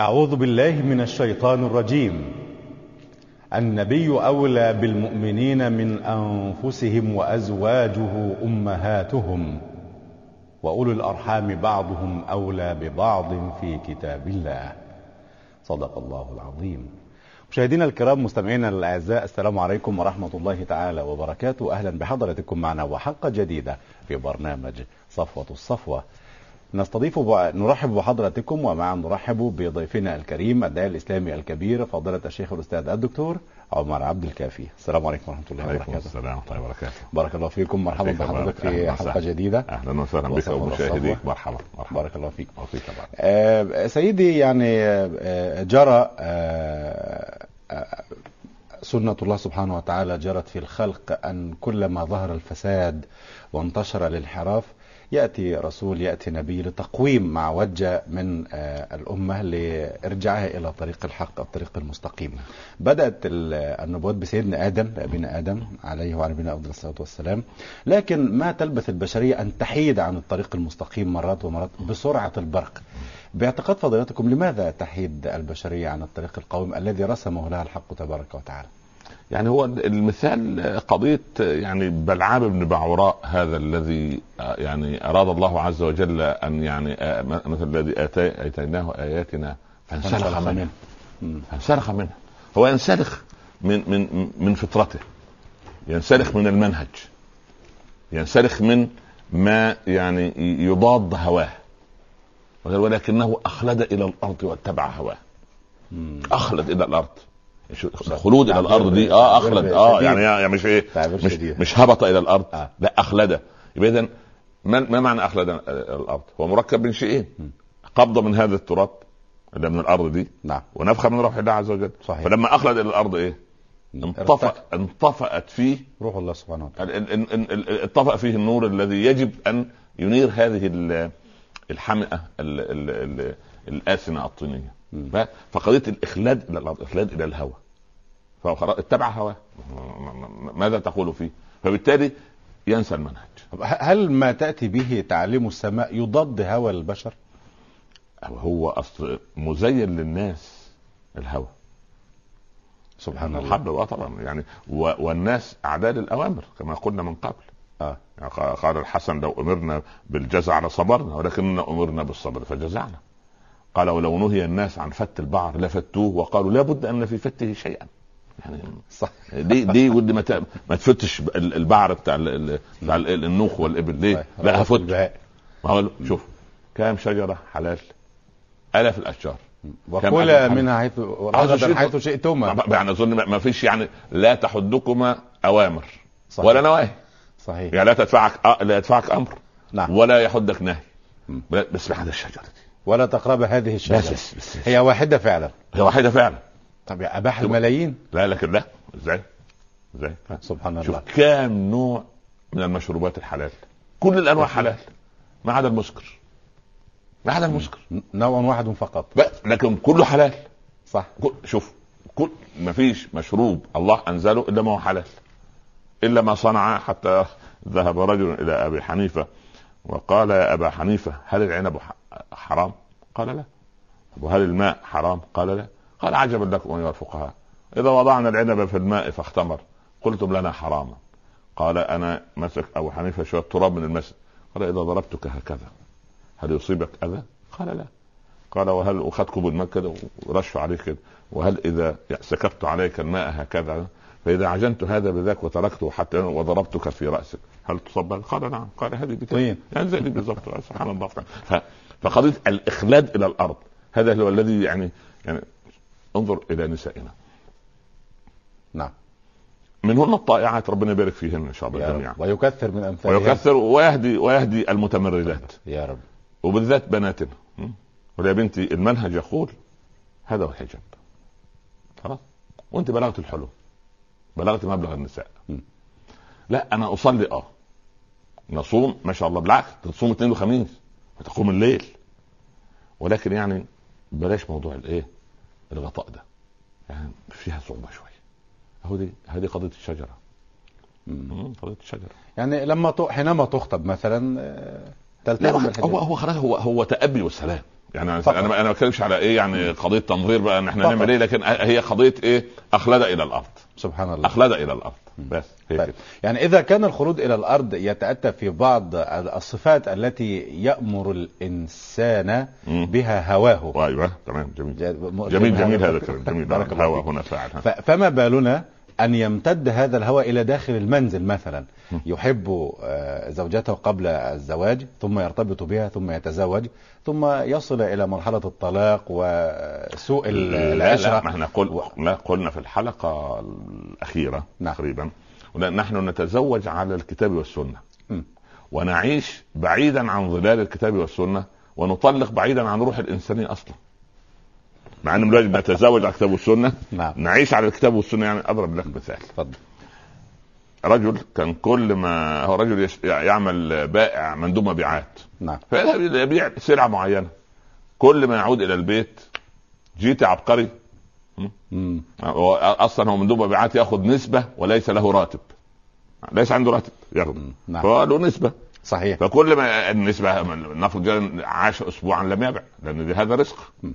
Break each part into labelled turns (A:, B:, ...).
A: أعوذ بالله من الشيطان الرجيم النبي أولى بالمؤمنين من أنفسهم وأزواجه أمهاتهم وأولو الأرحام بعضهم أولى ببعض في كتاب الله صدق الله العظيم مشاهدينا الكرام مستمعينا الاعزاء السلام عليكم ورحمه الله تعالى وبركاته اهلا بحضراتكم معنا وحلقه جديده في برنامج صفوه الصفوه نستضيف ب... نرحب بحضراتكم ومعا نرحب بضيفنا الكريم الداعي الاسلامي الكبير فضيله الشيخ الاستاذ الدكتور عمر عبد الكافي السلام عليكم ورحمه الله
B: عليكم
A: وبركاته
B: السلام ورحمه الله وبركاته
A: بارك الله فيكم مرحبا
B: فيك يا
A: بحضرتك
B: بارك. أهلاً
A: في حلقه
B: وسهلاً.
A: جديك
B: اهلا وسهلا بك
A: وصفوة
B: ومشاهديك
A: الصفوة.
B: مرحبا مرحبا
A: بارك الله فيك
B: وفيك طبعا
A: آه، سيدي يعني آه، آه، جرى آه، آه، سنة الله سبحانه وتعالى جرت في الخلق أن كلما ظهر الفساد وانتشر الانحراف يأتي رسول يأتي نبي لتقويم ما وجه من آه، الأمة لإرجاعها إلى طريق الحق الطريق المستقيم بدأت ال- النبوات بسيدنا آدم أبينا آدم عليه وعلى نبينا أفضل الصلاة والسلام لكن ما تلبث البشرية أن تحيد عن الطريق المستقيم مرات ومرات بسرعة البرق باعتقاد فضيلتكم لماذا تحيد البشرية عن الطريق القويم الذي رسمه لها الحق تبارك وتعالى
B: يعني هو المثال قضية يعني بلعام بن بعوراء هذا الذي يعني أراد الله عز وجل أن يعني آه، مثل الذي آتي- آتيناه آياتنا فانسلخ منها
A: مم.
B: انسلخ منها هو ينسلخ من من من فطرته ينسلخ من المنهج ينسلخ من ما يعني يضاد هواه ولكنه اخلد الى الارض واتبع هواه
A: مم.
B: اخلد الى الارض يعني شو- الخلود الى الارض دي اه
A: تعبير
B: اخلد اه
A: شديد.
B: يعني يعني مش ايه
A: تعبير
B: مش
A: شديد.
B: مش هبط الى الارض
A: آه.
B: لا اخلد يبقى اذا ما ما معنى اخلد الى الارض؟ هو مركب من شيئين قبضه من هذا التراب اللي من الارض دي
A: نعم
B: ونفخه من روح الله عز وجل
A: صحيح.
B: طيب. فلما اخلد الى الارض ايه انطفأ
A: ارتقى
B: انطفأت فيه
A: روح الله سبحانه وتعالى
B: ال- ال- ال- ال- ال- انطفأ فيه النور الذي يجب ان ينير هذه ال- الحمئه ال- ال- ال- الآثمة الطينيه
A: مم.
B: ف- فقضيه الاخلاد الى الارض الاخلاد الى الهوى فخلاص اتبع هواه م- م- م- ماذا تقول فيه فبالتالي ينسى المنهج
A: طب ه- هل ما تأتي به تعليم السماء يضاد هوى البشر؟
B: هو اصل مزين للناس الهوى
A: سبحان الله
B: الحبل اه طبعا يعني و- والناس اعداء للاوامر كما قلنا من قبل
A: آه.
B: يعني قا- قال الحسن لو امرنا بالجزع لصبرنا ولكننا امرنا بالصبر فجزعنا قال ولو نهي الناس عن فت البعر لفتوه وقالوا لا بد ان في فته شيئا يعني
A: صح
B: ليه ليه ودي ما ت- ما تفتش ال- البعر بتاع ال- ال- بتاع ال- النوخ والابل ليه؟ لا هفت
A: طيب، البهاء.
B: ما هو شوف كام شجره حلال الاف الاشجار
A: وكلا
B: ألف حب.
A: منها حيث
B: شئتم.
A: رغدا حيث شئتما
B: يعني اظن ما- ما فيش يعني لا تحدكما اوامر
A: صحيح.
B: ولا نواهي
A: صحيح
B: يعني لا تدفعك أ- لا يدفعك امر
A: نعم
B: ولا يحدك نهي
A: مم.
B: بل- بس بعد الشجره دي
A: ولا تقرب هذه
B: بس
A: الشجرة
B: بس, بس.
A: هي واحدة فعلا
B: هي واحده فعلا
A: طب يا أباح الملايين
B: لا لكن لا ازاي؟ ازاي؟
A: سبحان
B: شوف
A: الله
B: كام نوع من المشروبات الحلال كل الانواع حلال ما عدا المسكر ما عدا المسكر
A: ن- نوع واحد فقط
B: بس- لكن كله حلال
A: صح
B: كل- شوف كل ما فيش مشروب الله انزله الا ما هو حلال الا ما صنع حتى ذهب رجل الى ابي حنيفه وقال يا ابا حنيفه هل العنب ح- حرام؟ قال لا وهل الماء حرام؟ قال لا قال عجبا لكم ايها الفقهاء اذا وضعنا العنب في الماء فاختمر قلتم لنا حراما قال انا مسك ابو حنيفه شويه تراب من المسجد قال اذا ضربتك هكذا هل يصيبك اذى؟ قال لا قال وهل اخذتك بالماء كده ورش عليك كده وهل اذا سكبت عليك الماء هكذا فاذا عجنت هذا بذاك وتركته حتى وضربتك في راسك هل تصب قال نعم قال هذه بتاعي
A: طيب.
B: يعني زي دي بالظبط سبحان الله ف- فقضيه الاخلاد الى الارض هذا هو الذي يعني يعني انظر الى نسائنا
A: نعم
B: منهن الطائعات ربنا يبارك فيهن ان شاء الله
A: يا
B: جميعا
A: رب طيب، ويكثر من أمثالها
B: ويكثر ويهدي ويهدي المتمردات
A: يا رب
B: وبالذات بناتنا م? ولا يا بنتي المنهج يقول هذا هو الحجاب خلاص وانت بلغت الحلم بلغت مبلغ النساء
A: م.
B: لا انا اصلي اه نصوم ما شاء الله بالعكس تصوم اثنين وخميس وتقوم الليل ولكن يعني بلاش موضوع الايه الغطاء ده يعني فيها صعوبه شويه اهو دي هذه قضيه الشجره
A: مم.
B: م? قضيه الشجره
A: يعني لما ت- حينما تخطب مثلا آه،
B: لا
A: تلتزم
B: هو
A: بالحجاب
B: هو خلاص هو هو تأبي والسلام يعني انا
A: فقط.
B: انا ما بتكلمش على ايه يعني قضيه تنظير بقى ان احنا
A: فقط.
B: نعمل ايه لكن هي قضيه ايه اخلد الى الارض
A: سبحان الله
B: اخلد الى الارض بس هي
A: طيب.
B: كده.
A: يعني إذا كان الخلود إلى الأرض يتأتى في بعض الصفات التي يأمر الإنسان
B: مم.
A: بها هواه
B: ايوه تمام جميل
A: ج-
B: جميل
A: هذا
B: جميل هذا
A: الفكر.
B: الكلام جميل
A: بارك الله
B: الهوى
A: فيك.
B: هنا فعلا
A: ف- فما بالنا أن يمتد هذا الهوى إلى داخل المنزل مثلا
B: مم.
A: يحب آه، زوجته قبل الزواج ثم يرتبط بها ثم يتزوج ثم يصل إلى مرحلة الطلاق وسوء ال-
B: لا لا ما
A: العشرة
B: احنا قل...
A: و-
B: لا قلنا في الحلقه الاخيره
A: نعم.
B: تقريبا لا، نحن نتزوج على الكتاب والسنه
A: م.
B: ونعيش بعيدا عن ظلال الكتاب والسنه ونطلق بعيدا عن روح الانسانيه اصلا مع ان دلوقتي نتزوج على الكتاب والسنه
A: نعم
B: نعيش على الكتاب والسنه يعني اضرب لك مثال
A: تفضل
B: رجل كان كل ما هو رجل يش... يعمل بائع مندوب مبيعات
A: نعم
B: فيذهب يبيع سلعه معينه كل ما يعود الى البيت جيت يا عبقري
A: مم.
B: هو اصلا هو مندوب مبيعات ياخذ نسبه وليس له راتب ليس عنده راتب ياخذ
A: مم. نعم
B: هو له نسبه
A: صحيح
B: فكل ما النسبه نفرض جاء عاش اسبوعا لم يبع لان دي هذا رزق
A: مم.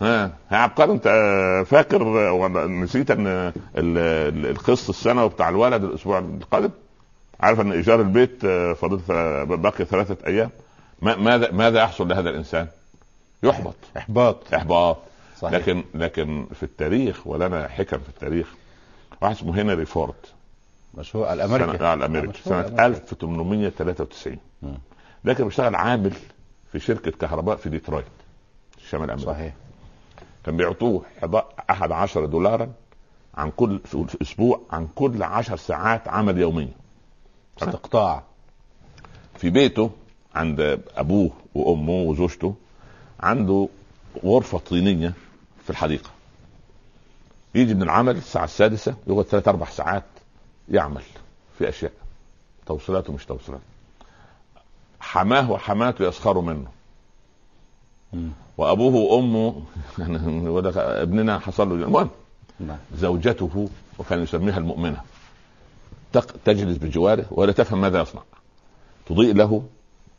B: ها يا عبقري انت آه، فاكر آه، ولا نسيت ان آه، ال- ال- القسط السنوي بتاع الولد الاسبوع القادم عارف ان ايجار البيت آه، فاضل ث- باقي ثلاثه ايام ما- ماذا ماذا يحصل لهذا الانسان؟ يحبط
A: إحباط
B: احباط
A: صحيح
B: لكن لكن في التاريخ ولنا حكم في التاريخ واحد اسمه هنري فورد
A: مشهور
B: سنة
A: الأمريكي
B: آه، الامريكي
A: مشهور
B: سنة
A: الأمريكي.
B: 1893
A: مم.
B: ده كان بيشتغل عامل في شركة كهرباء في ديترويت الشمال الامريكي
A: صحيح
B: كان بيعطوه 11 دولارا عن كل في في اسبوع عن كل 10 ساعات عمل يومية
A: استقطاع
B: في بيته عند ابوه وامه وزوجته عنده غرفه طينيه في الحديقه يجي من العمل الساعه السادسه يقعد ثلاث اربع ساعات يعمل في اشياء توصيلات ومش توصيلات حماه وحماته يسخروا منه
A: مم.
B: وابوه وامه يقول لك ابننا حصل له المهم
A: نعم
B: زوجته وكان يسميها المؤمنة تق- تجلس بجواره ولا تفهم ماذا يصنع تضيء له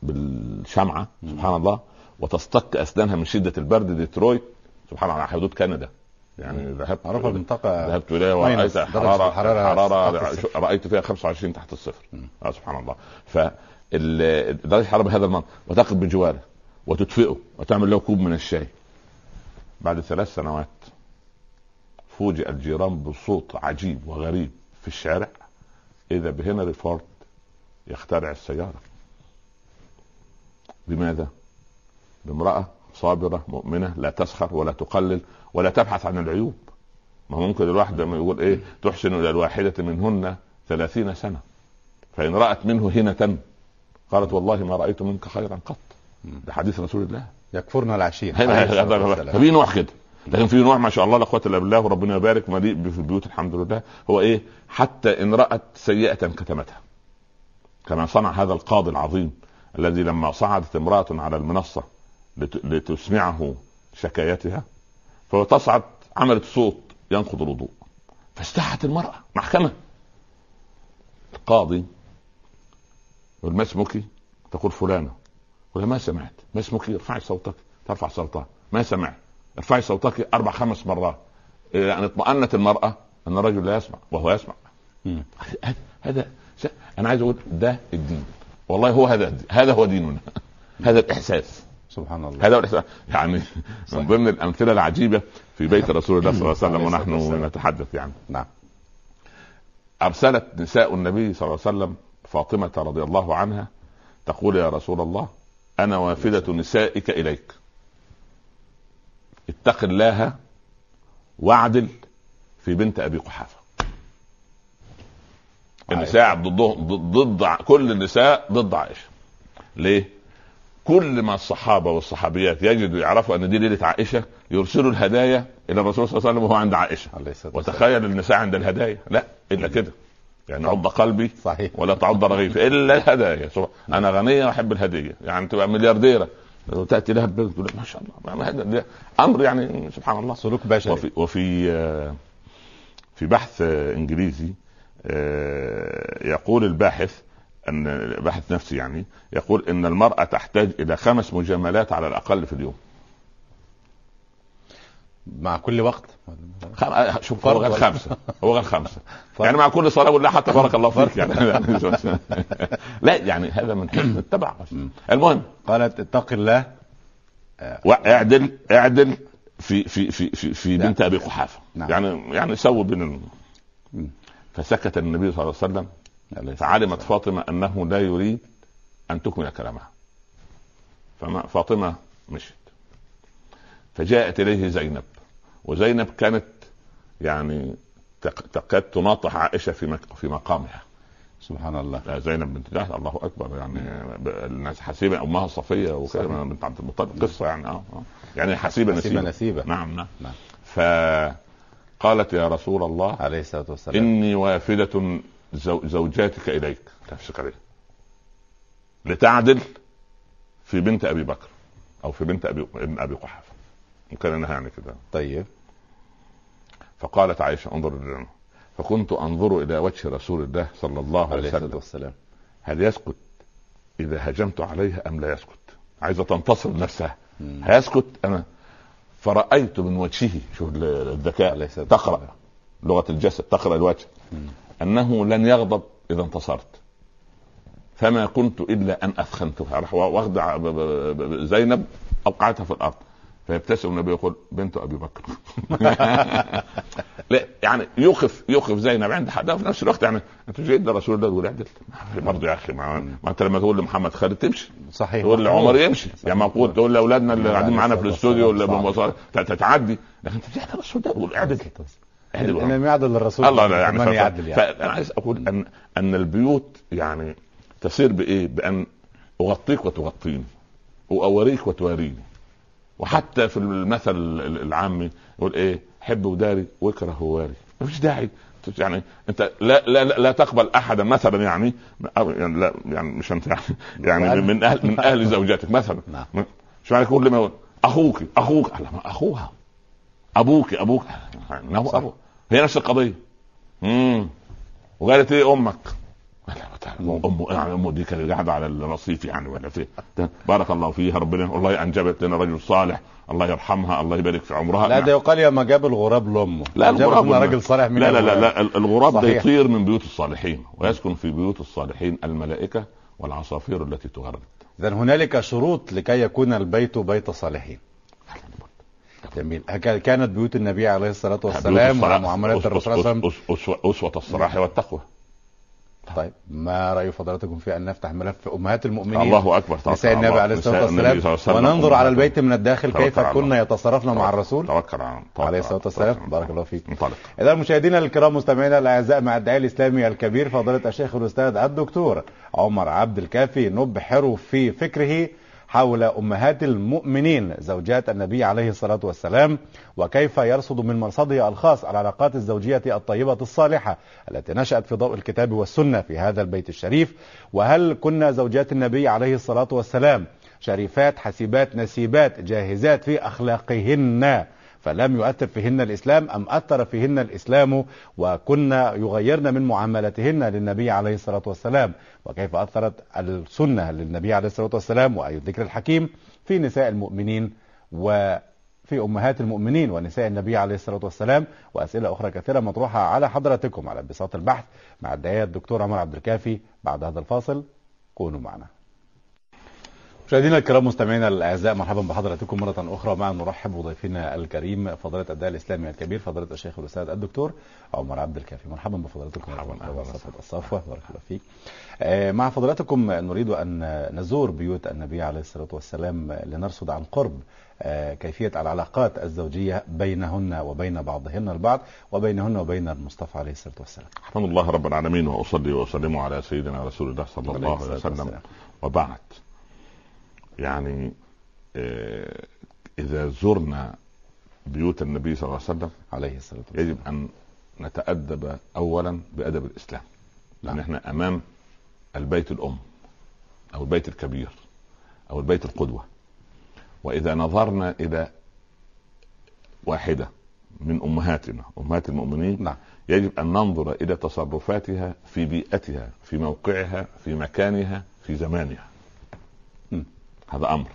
B: بالشمعة سبحان الله وتصطك أسنانها من شدة البرد ديترويت سبحان الله على حدود كندا يعني ذهبت
A: معروف المنطقة
B: ذهبت اليها
A: ماينس
B: ورايت
A: درجة
B: حراره
A: الحرارة تحت
B: حراره
A: الصفر.
B: رايت فيها 25 تحت الصفر
A: مم.
B: اه سبحان الله ف ال- درجه الحراره بهذا المنطق وتقف بجواره وتدفئه وتعمل له كوب من الشاي بعد ثلاث سنوات فوجئ الجيران بصوت عجيب وغريب في الشارع اذا بهنري فورد يخترع السياره لماذا؟ بامراه صابره مؤمنه لا تسخر ولا تقلل ولا تبحث عن العيوب ما هو ممكن الواحد لما يقول ايه تحسن الى الواحده منهن ثلاثين سنه فان رات منه هنه قالت والله ما رايت منك خيرا قط ده حديث رسول الله
A: يكفرن العشير عليه الصلاة
B: هنا-
A: والسلام.
B: ففي نوع كده لكن في نوع ما شاء الله لا قوه الا بالله وربنا يبارك مليء في البيوت الحمد لله هو ايه حتى ان رات سيئه كتمتها كما صنع هذا القاضي العظيم الذي لما صعدت امراه على المنصه لت- لتسمعه شكايتها فهو تصعد عملت صوت ينقض الوضوء فاستحت المراه محكمه القاضي يقول ما اسمك؟ تقول فلانه ولا ما سمعت ما اسمك ارفعي صوتك ترفع صوتها ما سمعت ارفعي صوتك اربع خمس مرات إيه، ان اطمأنت المرأة ان الرجل لا يسمع وهو يسمع
A: مم.
B: هذا- هذا س- انا عايز اقول ده الدين والله هو هذا الدين. هذا هو ديننا هذا الاحساس
A: سبحان الله
B: هذا هو الاحساس يعني من
A: صحيح. نعم.
B: ضمن الامثله العجيبه في بيت رسول الله صلى الله عليه وسلم
A: عليه الصلاة
B: ونحن
A: والسلام.
B: نتحدث يعني
A: نعم
B: ارسلت نساء النبي صلى الله عليه وسلم فاطمه رضي الله عنها تقول يا رسول الله انا
A: نعم.
B: وافده نسائك اليك اتق الله واعدل في بنت ابي قحافه النساء ضدهم ضد ضد- كل النساء ضد عائشه ليه؟ كل ما الصحابه والصحابيات يجدوا يعرفوا ان دي ليله عائشه يرسلوا الهدايا الى الرسول صلى الله عليه وسلم وهو عند عائشه
A: عليه الصلاة والسلام
B: وتخيل النساء عند الهدايا لا الا كده يعني عض قلبي
A: صحيح
B: ولا تعض رغيف الا الهدايا سواء انا غنيه واحب الهديه يعني تبقى مليارديره تاتي لها بنت تقول لها ما شاء الله ما هذا ده امر يعني سبحان الله
A: سلوك بشري
B: وفي وفي آه، في بحث آه، انجليزي آه، يقول الباحث ان باحث نفسي يعني يقول ان المراه تحتاج الى خمس مجاملات على الاقل في اليوم
A: مع كل وقت
B: خم... آه، شوف هو
A: فرض
B: غير
A: ولا-
B: خمسه هو غير خمسه
A: فرض.
B: يعني مع كل صلاه ولا حتى بارك الله فيك يعني
A: طيب.
B: لا يعني هذا من حسن التبع المهم
A: قالت اتق الله
B: واعدل اعدل في في في في, في
A: نعم.
B: بنت ابي قحافه
A: نعم.
B: يعني يعني سووا بين ال...
A: مم.
B: فسكت النبي صلى الله عليه وسلم
A: عليه الصلاة
B: فعلمت فاطمه انه لا يريد ان تكمل كلامها فما فاطمه مشت فجاءت اليه زينب وزينب كانت يعني تق- تكاد تناطح عائشه في مك- في مقامها
A: سبحان الله
B: لا، زينب بنت جحش الله اكبر يعني ب- الناس حسيبه امها صفيه وكده
A: صحيح.
B: بنت عبد المطلب قصه يعني اه آه. يعني حسيبه
A: نسيبة
B: نسيبه
A: نسيبة
B: نعم نعم
A: نعم.
B: فقالت يا رسول الله
A: عليه الصلاة والسلام
B: اني وافده زو- زوجاتك اليك تمسك عليه لتعدل في بنت ابي بكر او في بنت ابي ابن ابي قحافه وكان انها يعني كده
A: طيب
B: فقالت عائشه انظر للعلم. فكنت انظر الى وجه رسول الله صلى الله
A: عليه
B: عليه وسلم
A: الصلاة والسلام
B: هل يسكت اذا هجمت عليها ام لا يسكت عايزه تنتصر لنفسها
A: مم.
B: هيسكت انا فرأيت من وجهه شوف ال-
A: عليه
B: الذكاء
A: الصلاة
B: تقرأ
A: والسلام.
B: لغة الجسد تقرأ الوجه
A: مم.
B: أنه لن يغضب إذا انتصرت فما كنت إلا أن أثخنتها راح واخد ع- ب- ب- ب- زينب أوقعتها في الأرض فيبتسم النبي يقول بنت أبي بكر لا يعني يوقف يوقف زينب عند حدها وفي نفس الوقت يعني أنت جيت لرسول الله تقول اعدل برضه يا أخي ما ما أنت لما تقول لمحمد خالد تمشي
A: صحيح
B: تقول لعمر
A: إيه؟
B: يمشي يا مقبول تقول لاولادنا اللي
A: لا،
B: قاعدين
A: لا،
B: معانا
A: صعب،
B: في الاستوديو
A: صعب،
B: ولا
A: صعب.
B: بالمصاري تتعدي لكن انت بتعمل الرسول ده قول اعدل اعدل
A: إن
B: وراه.
A: لم يعدل الرسول
B: الله لا يعني,
A: من
B: ف-
A: يعدل يعني
B: فانا عايز اقول ان ان البيوت يعني تسير بايه؟ بان اغطيك وتغطيني واوريك وتواريني وحتى في المثل ال- العامي يقول ايه؟ حب وداري واكره واري ما فيش داعي يعني انت لا لا لا, لا تقبل احدا مثلا يعني أو يعني لا يعني مش انت يعني, يعني
A: وأنا-
B: من اهل من اهل زوجاتك مثلا
A: نعم.
B: مش معنى كل ما يقول اخوك اخوك لا، ما اخوها ابوك ابوك انه
A: صح.
B: ابوك هي نفس القضيه امم وقالت ايه امك قال لها تعال، امه يعني امه دي كانت قاعده على الرصيف يعني ولا في بارك الله فيها ربنا والله انجبت لنا رجل صالح الله يرحمها الله يبارك في عمرها
A: لا ده يقال يا ما جاب نعم. الغراب لأمه
B: لا
A: جاب
B: الغراب
A: لنا راجل صالح من
B: لا لا لا, لا ال- الغراب ده
A: صحيح.
B: يطير من بيوت الصالحين ويسكن في بيوت الصالحين الملائكه والعصافير التي تغرد
A: إذا هنالك شروط لكي يكون البيت بيت صالحين جميل هكا- كانت بيوت النبي عليه الصلاة والسلام ومعاملات الرسول صلى الله عليه وسلم
B: وسلم اسوه الصلاح والتقوى
A: طيب ما رأي فضلاتكم في أن نفتح ملف أمهات المؤمنين
B: الله اكبر توكل
A: نساء النبي
B: الله.
A: عليه الصلاة
B: نساء النبي
A: والسلام
B: صلى الله عليه وسلم.
A: وننظر على البيت من الداخل
B: توكل
A: كيف
B: على الله.
A: كنا يتصرفن مع الرسول
B: توكل على الله توكل
A: عليه الصلاة
B: على الله.
A: والسلام بارك الله فيك
B: انطلق
A: إذا مشاهدينا الكرام مستمعينا الأعزاء مع الداعي الإسلامي الكبير فضيلة الشيخ الأستاذ الدكتور عمر عبد الكافي نبحر في فكره حول أمهات المؤمنين زوجات النبي عليه الصلاة والسلام وكيف يرصد من مرصده الخاص العلاقات الزوجية الطيبة الصالحة التي نشأت في ضوء الكتاب والسنة في هذا البيت الشريف وهل كنا زوجات النبي عليه الصلاة والسلام شريفات حسيبات نسيبات جاهزات في أخلاقهن فلم يؤثر فيهن الإسلام أم أثر فيهن الإسلام وكنا يغيرن من معاملتهن للنبي عليه الصلاة والسلام وكيف أثرت السنة للنبي عليه الصلاة والسلام وأي الذكر الحكيم في نساء المؤمنين وفي أمهات المؤمنين ونساء النبي عليه الصلاة والسلام وأسئلة أخرى كثيرة مطروحة على حضراتكم على بساط البحث مع الداعية الدكتور عمر عبد الكافي بعد هذا الفاصل كونوا معنا مشاهدينا الكرام مستمعينا الاعزاء مرحبا بحضراتكم مره اخرى مع نرحب بضيفنا الكريم فضيله الداعي الاسلامي الكبير فضيله الشيخ الاستاذ الدكتور عمر عبد الكافي مرحبا بفضلاتكم
B: مرحبا،
A: مرة أخرى
B: أهلا
A: وصفة
B: وسهلا.
A: الصفوه بارك الله فيك آه، مع فضلاتكم نريد ان نزور بيوت النبي عليه الصلاه والسلام لنرصد عن قرب آه، كيفيه العلاقات الزوجيه بينهن وبين بعضهن البعض وبينهن وبين المصطفى عليه الصلاه والسلام
B: الحمد لله رب العالمين واصلي واسلم على سيدنا رسول الله صلى الله عليه وسلم وبعد يعني آه، اذا زرنا بيوت النبي صلى الله عليه وسلم
A: عليه الصلاه والسلام
B: يجب ان نتادب اولا بادب الاسلام لان
A: نعم.
B: احنا امام البيت الام او البيت الكبير او البيت القدوه واذا نظرنا الى واحده من امهاتنا امهات المؤمنين
A: نعم
B: يجب ان ننظر الى تصرفاتها في بيئتها في موقعها في مكانها في زمانها
A: م.
B: هذا امر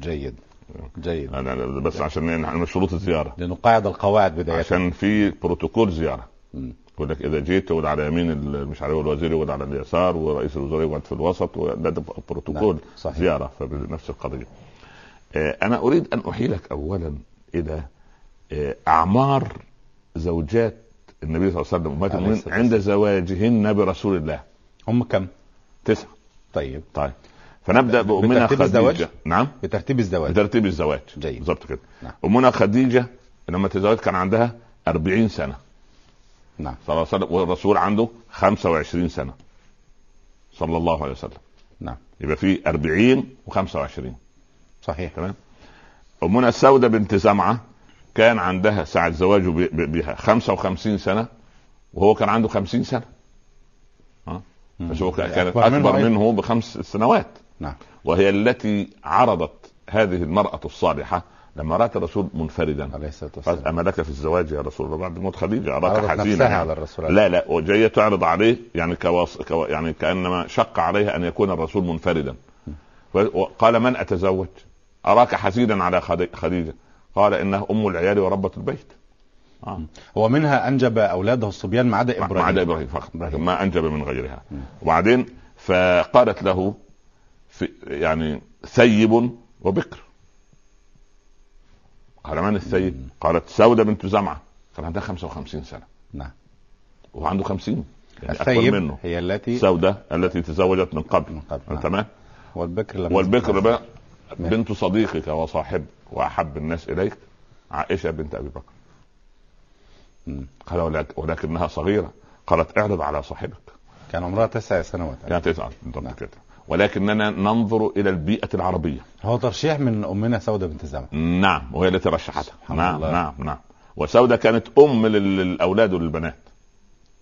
A: جيد
B: آه.
A: جيد
B: أنا- أنا بس عشان نحن من شروط الزياره
A: لنقاعد القواعد بداية
B: عشان في بروتوكول زياره
A: مم.
B: يقول لك اذا جيت تقعد على يمين ال- مش عارف الوزير يقعد على اليسار ورئيس الوزراء يقعد في الوسط وده ده بروتوكول
A: نعم، صحيح.
B: زياره فبنفس القضيه. آه، انا اريد ان احيلك اولا الى آه، اعمار زوجات النبي صلى الله عليه وسلم امهات
A: عليه
B: المؤمنين
A: الصلاة
B: عند زواجهن برسول الله
A: هم كم؟
B: تسعه
A: طيب
B: طيب فنبدا بامنا
A: بترتيب الزواج؟
B: خديجه نعم
A: بترتيب الزواج
B: بترتيب الزواج
A: جيد.
B: بالظبط كده
A: نعم.
B: امنا خديجه لما تزوجت كان عندها 40 سنه
A: نعم
B: صلى الله عليه وسلم والرسول عنده 25 سنه صلى الله عليه وسلم
A: نعم
B: يبقى في 40 و25
A: صحيح
B: تمام امنا سوده بنت زمعه كان عندها ساعه زواجه ب- ب- بها 55 سنه وهو كان عنده 50 سنه ها بس هو كان- كانت
A: أكبر منه
B: اكبر
A: أيضا.
B: منه بخمس سنوات
A: نعم
B: وهي التي عرضت هذه المرأة الصالحة لما رأت الرسول منفردا
A: عليه الصلاة
B: قالت
A: والسلام
B: أما لك في الزواج يا رسول الله بعد موت خديجة أراك
A: عرضت
B: حزينا
A: نفسها
B: يعني.
A: على الرسول عليه
B: لا لا وجاية تعرض عليه يعني كواص... كوا... يعني كأنما شق عليها أن يكون الرسول منفردا و- وقال من أتزوج أراك حزينا على خدي- خديجة قال إنها أم العيال وربة البيت آه.
A: هو منها انجب اولاده الصبيان ما عدا
B: ما-
A: ابراهيم
B: ما عدا ابراهيم فقط
A: إبراهيم.
B: ما انجب من غيرها وبعدين فقالت له في يعني ثيب وبكر قال من الثيب؟ قالت سوده بنت زمعه كان عندها 55 سنه
A: نعم
B: وهو عنده 50 يعني اكبر
A: الثيب
B: منه
A: هي التي
B: سوده التي تزوجت من قبل
A: من قبل نعم.
B: تمام
A: والبكر لما
B: والبكر بقى
A: نعم.
B: بنت صديقك وصاحبك واحب الناس اليك عائشه بنت ابي بكر
A: مم.
B: قال ولك- ولكنها صغيره قالت اعرض على صاحبك
A: كان عمرها تسع سنوات
B: لا تسعة بالضبط
A: نعم.
B: كده ولكننا ننظر الى البيئه العربيه
A: هو ترشيح من امنا سوده بنت زمع
B: نعم وهي التي رشحتها
A: سبحان
B: نعم
A: الله.
B: نعم نعم وسوده كانت ام لل- للاولاد وللبنات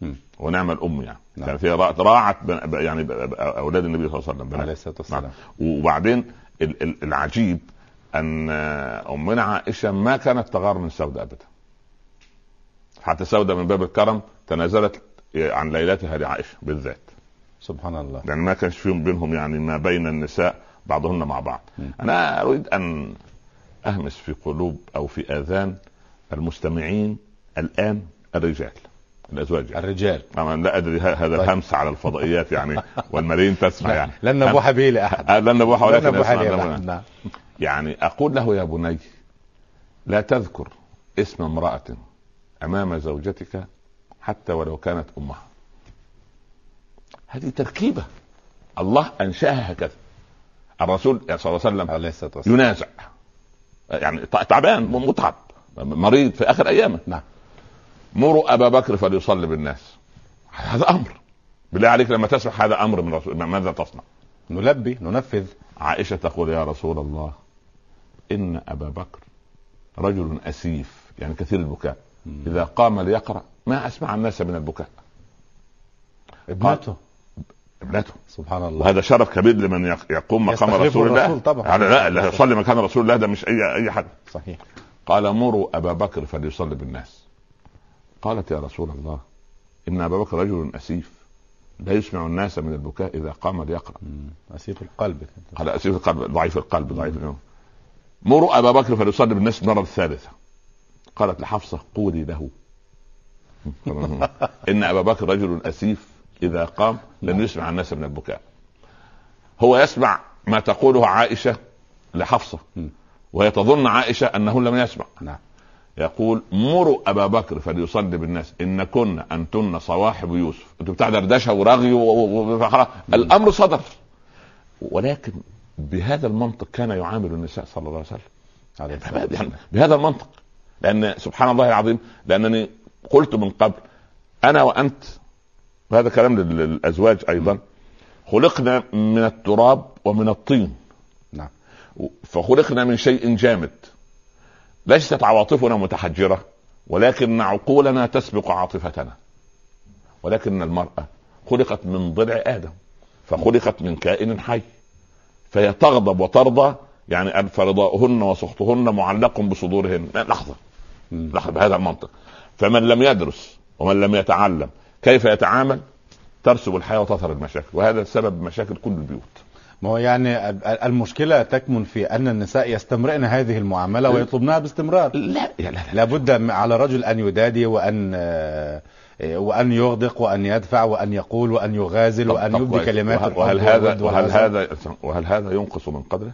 A: مم.
B: ونعم الام يعني
A: نعم.
B: كانت هي را- راعت بن- ب- يعني ب- ب- اولاد النبي صلى الله عليه وسلم
A: عليه
B: بنات
A: الصلاه
B: نعم.
A: والسلام
B: وبعدين ال- ال- العجيب ان آه، امنا عائشه ما كانت تغار من سوده ابدا حتى سوده من باب الكرم تنازلت عن ليلتها لعائشه بالذات
A: سبحان الله
B: يعني ما كانش فيهم بينهم يعني ما بين النساء بعضهن مع بعض
A: م.
B: انا اريد ان اهمس في قلوب او في اذان المستمعين الان الرجال الازواج يعني.
A: الرجال
B: طبعا لا ادري ه- هذا
A: طيب.
B: همس على الفضائيات يعني والملايين تسمع يعني
A: نعم. لن نبوح به لاحد
B: آه، لن نبوح
A: لن
B: ولكن
A: نبوح
B: يسمع
A: به
B: ربنا.
A: لأحد. نعم
B: يعني اقول له يا بني لا تذكر اسم امراه امام زوجتك حتى ولو كانت امها هذه تركيبه الله انشاها هكذا الرسول صلى الله عليه وسلم
A: عليه الصلاه والسلام
B: ينازع يعني ت- تعبان متعب مريض في اخر ايامه
A: نعم.
B: مروا ابا بكر فليصلي بالناس هذا امر بالله عليك لما تسمع هذا امر من رسول ماذا تصنع
A: نلبي ننفذ
B: عائشة تقول يا رسول الله إن أبا بكر رجل أسيف يعني كثير البكاء إذا قام ليقرأ ما أسمع الناس من البكاء
A: ابنته
B: ابنته
A: سبحان الله
B: وهذا شرف كبير لمن يق- يقوم مقام
A: يستخلفه
B: رسول الله
A: الرسول طبعا.
B: على لا اللي يصلي مكان رسول الله ده مش أي أي حد
A: صحيح
B: قال مروا أبا بكر فليصلي بالناس قالت يا رسول الله إن أبا بكر رجل أسيف لا يسمع الناس من البكاء إذا قام ليقرأ
A: نسيت القلب كده.
B: على اسير القلب ضعيف القلب ضعيف القلب مروا ابا بكر فليصلي بالناس المره الثالثه قالت لحفصه قولي له ان ابا بكر رجل اسيف اذا قام لم يسمع الناس من البكاء هو يسمع ما تقوله عائشه لحفصه
A: مم.
B: وهي تظن عائشه انه لم يسمع
A: نعم
B: يقول مروا ابا بكر فليصلي بالناس ان كن انتن صواحب يوسف انتوا بتاع دردشه ورغي و... و... و... فخلاص. الامر صدر ولكن بهذا المنطق كان يعامل النساء صلى الله عليه وسلم
A: عليه الصلاه
B: يعني
A: والسلام
B: بهذا المنطق لان سبحان الله العظيم لانني قلت من قبل انا وانت وهذا كلام لل- للازواج ايضا خلقنا من التراب ومن الطين
A: نعم.
B: فخلقنا من شيء جامد ليست عواطفنا متحجره ولكن عقولنا تسبق عاطفتنا ولكن المراه خلقت من ضلع ادم فخلقت من كائن حي فهي تغضب وترضى يعني فرضاؤهن وسخطهن معلق بصدورهن لا، لحظه
A: مم.
B: لحظه بهذا المنطق فمن لم يدرس ومن لم يتعلم كيف يتعامل ترسب الحياه وتظهر المشاكل وهذا سبب مشاكل كل البيوت
A: ما هو يعني ال- ال- المشكلة تكمن في أن النساء يستمرئن هذه المعاملة ويطلبنها باستمرار
B: لا يا لا لا,
A: لابد م- على رجل أن يدادي وأن آه، آه، وأن يغدق وأن يدفع وأن يقول وأن يغازل
B: طب-
A: وأن
B: طب
A: يبدي
B: كويس.
A: كلمات
B: وهل,
A: الحب
B: وهل
A: والود
B: هذا وهل
A: والعزاء.
B: هذا وهل هذا ينقص من قدره؟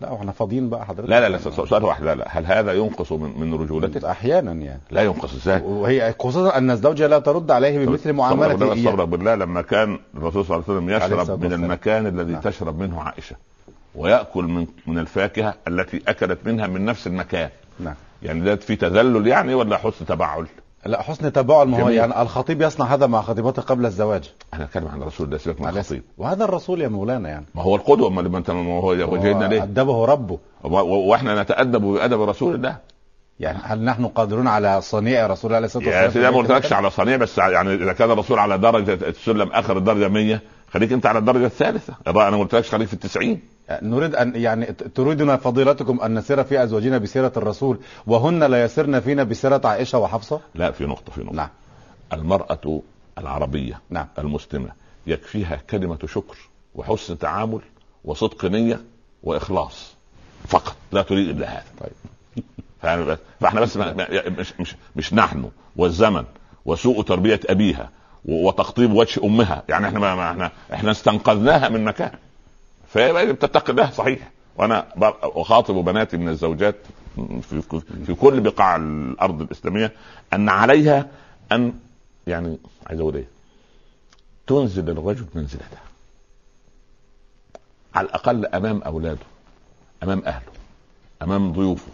A: لا احنا فاضيين بقى حضرتك
B: لا لا لا سؤال سؤال واحد لا لا هل هذا ينقص من من رجولته؟
A: أحيانا يعني
B: لا ينقص ازاي؟
A: وهي خصوصا أن الزوجة لا ترد عليه بمثل معاملته
B: استغرب
A: إياه
B: استغرب بالله لما كان الرسول صلى الله عليه وسلم
A: عليه
B: يشرب
A: الصلاة
B: من
A: والسلام.
B: المكان الذي
A: نعم.
B: تشرب منه عائشه وياكل من من الفاكهه التي اكلت منها من نفس المكان
A: نعم
B: يعني ده في تذلل يعني ولا حسن تبعل؟
A: لا حسن تباعد ما هو
B: جميل.
A: يعني الخطيب يصنع هذا مع خطيبته قبل الزواج
B: انا اتكلم عن الرسول ده سيبك من
A: عليه
B: الخطيب
A: وهذا الرسول يا مولانا يعني
B: ما هو القدوه امال ما انت ما هو وجدنا
A: هو
B: ليه؟
A: أدبه ربه
B: و- و- واحنا نتادب بادب رسول الله
A: يعني هل نحن قادرون على صنيع رسول الله عليه الصلاة والسلام
B: يا يعني سيدي أنا ما
A: في ذلك
B: قلتلكش على صنيع بس يعني اذا كان الرسول على درجه السلم اخر الدرجه 100 خليك انت على الدرجه الثالثه انا ما قلتلكش خليك في التسعين
A: نريد ان يعني ت- تريدنا فضيلتكم ان نسير في ازواجنا بسيره الرسول وهن لا يسرن فينا بسيره عائشه وحفصه
B: لا في نقطه في نقطه
A: نعم
B: المرأة العربية
A: نعم
B: المسلمة يكفيها كلمة شكر وحسن تعامل وصدق نية وإخلاص فقط لا تريد إلا هذا
A: طيب.
B: فاهم بس؟ فاحنا بس ما- ما- مش مش مش نحن والزمن وسوء تربية أبيها و- وتقطيب وجه أمها يعني احنا ما ما- احنا احنا استنقذناها من مكان فهي بتتقي الله صحيح وانا بر- اخاطب بناتي من الزوجات في في كل بقاع الارض الاسلاميه ان عليها ان يعني عايز اقول ايه؟ تنزل الرجل منزلته على الاقل امام اولاده امام اهله امام ضيوفه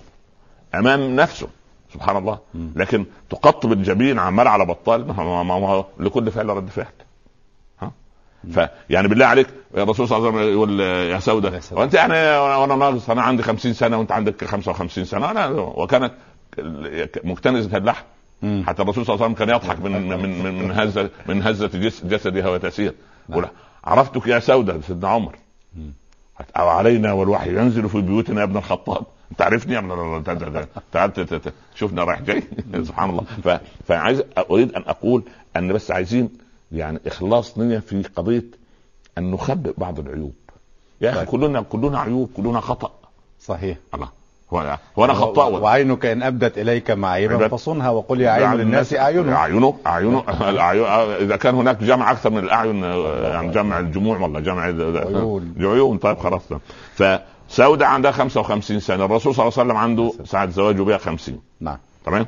B: امام نفسه سبحان الله
A: مم.
B: لكن تقطب الجبين عمال على بطال ما هو- ما هو لكل فعل رد فعل ها فيعني بالله عليك الرسول صلى الله عليه وسلم يقول يا سوده
A: يا سودة.
B: وانت يعني وانا وأنا ناقص انا عندي 50 سنه وانت عندك 55 سنه أنا وكانت مكتنزه اللحم
A: مم.
B: حتى الرسول صلى الله عليه وسلم كان يضحك من من من من هزه من هزه جس- جسدها وتسير يقول عرفتك يا سوده سيدنا عمر
A: مم.
B: او علينا والوحي ينزل في بيوتنا يا ابن الخطاب انت عارفني يا ابن ال- تعال- تعال- تعال ت- ت- ت- شوفنا رايح جاي سبحان الله ف- فعايز اريد ان اقول ان بس عايزين يعني اخلاص نيه في قضيه ان نخبئ بعض العيوب يا اخي
A: طيب.
B: كلنا كلنا عيوب كلنا خطا
A: صحيح
B: الله هو هو انا
A: و-
B: خطاء
A: وعينك ان ابدت اليك معيبا
B: عيبا.
A: فصنها وقل يا
B: نعم.
A: عين الناس اعينهم
B: اعينه اعينه الاعين اذا كان هناك جمع اكثر من الاعين آه، يعني جمع الجموع والله جمع
A: عيون.
B: عيون طيب خلاص فسودة عندها 55 سنه الرسول صلى الله عليه وسلم عنده ساعه زواجه بها 50
A: نعم
B: تمام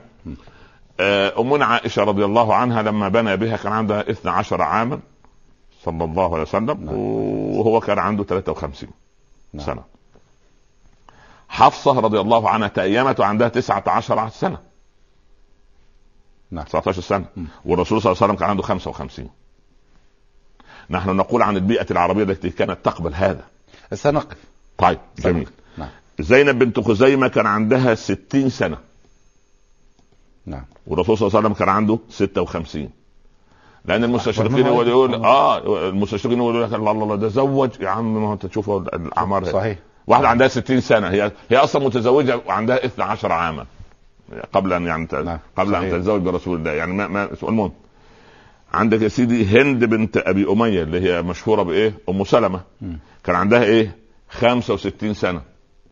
B: آه، امنا عائشه رضي الله عنها لما بنى بها كان عندها 12 عاما صلى الله عليه وسلم
A: نعم.
B: وهو كان عنده 53
A: نعم.
B: سنه حفصه رضي الله عنها تأيمت وعندها 19 سنه
A: نعم
B: 19 سنه
A: م.
B: والرسول صلى الله عليه وسلم كان عنده 55 نحن نقول عن البيئه العربيه التي كانت تقبل هذا
A: سنقف
B: طيب جميل
A: نعم
B: زينب بنت خزيمه كان عندها 60 سنه
A: نعم
B: والرسول صلى الله عليه وسلم كان عنده 56 لان المستشرقين
A: أكبر منها.
B: يقول يقول اه المستشرقين يقولوا لك الله الله الله ده زوج يا عم ما هو انت تشوف الاعمار هي.
A: صحيح
B: واحده عندها 60 سنه هي هي اصلا متزوجه وعندها 12 عاما قبل ان يعني ت-
A: نعم،
B: قبل ان
A: صحيح.
B: تتزوج برسول الله يعني ما ما سؤال مهم عندك يا سيدي هند بنت ابي اميه اللي هي مشهوره بايه؟ ام سلمه
A: مم.
B: كان عندها ايه؟ 65 سنه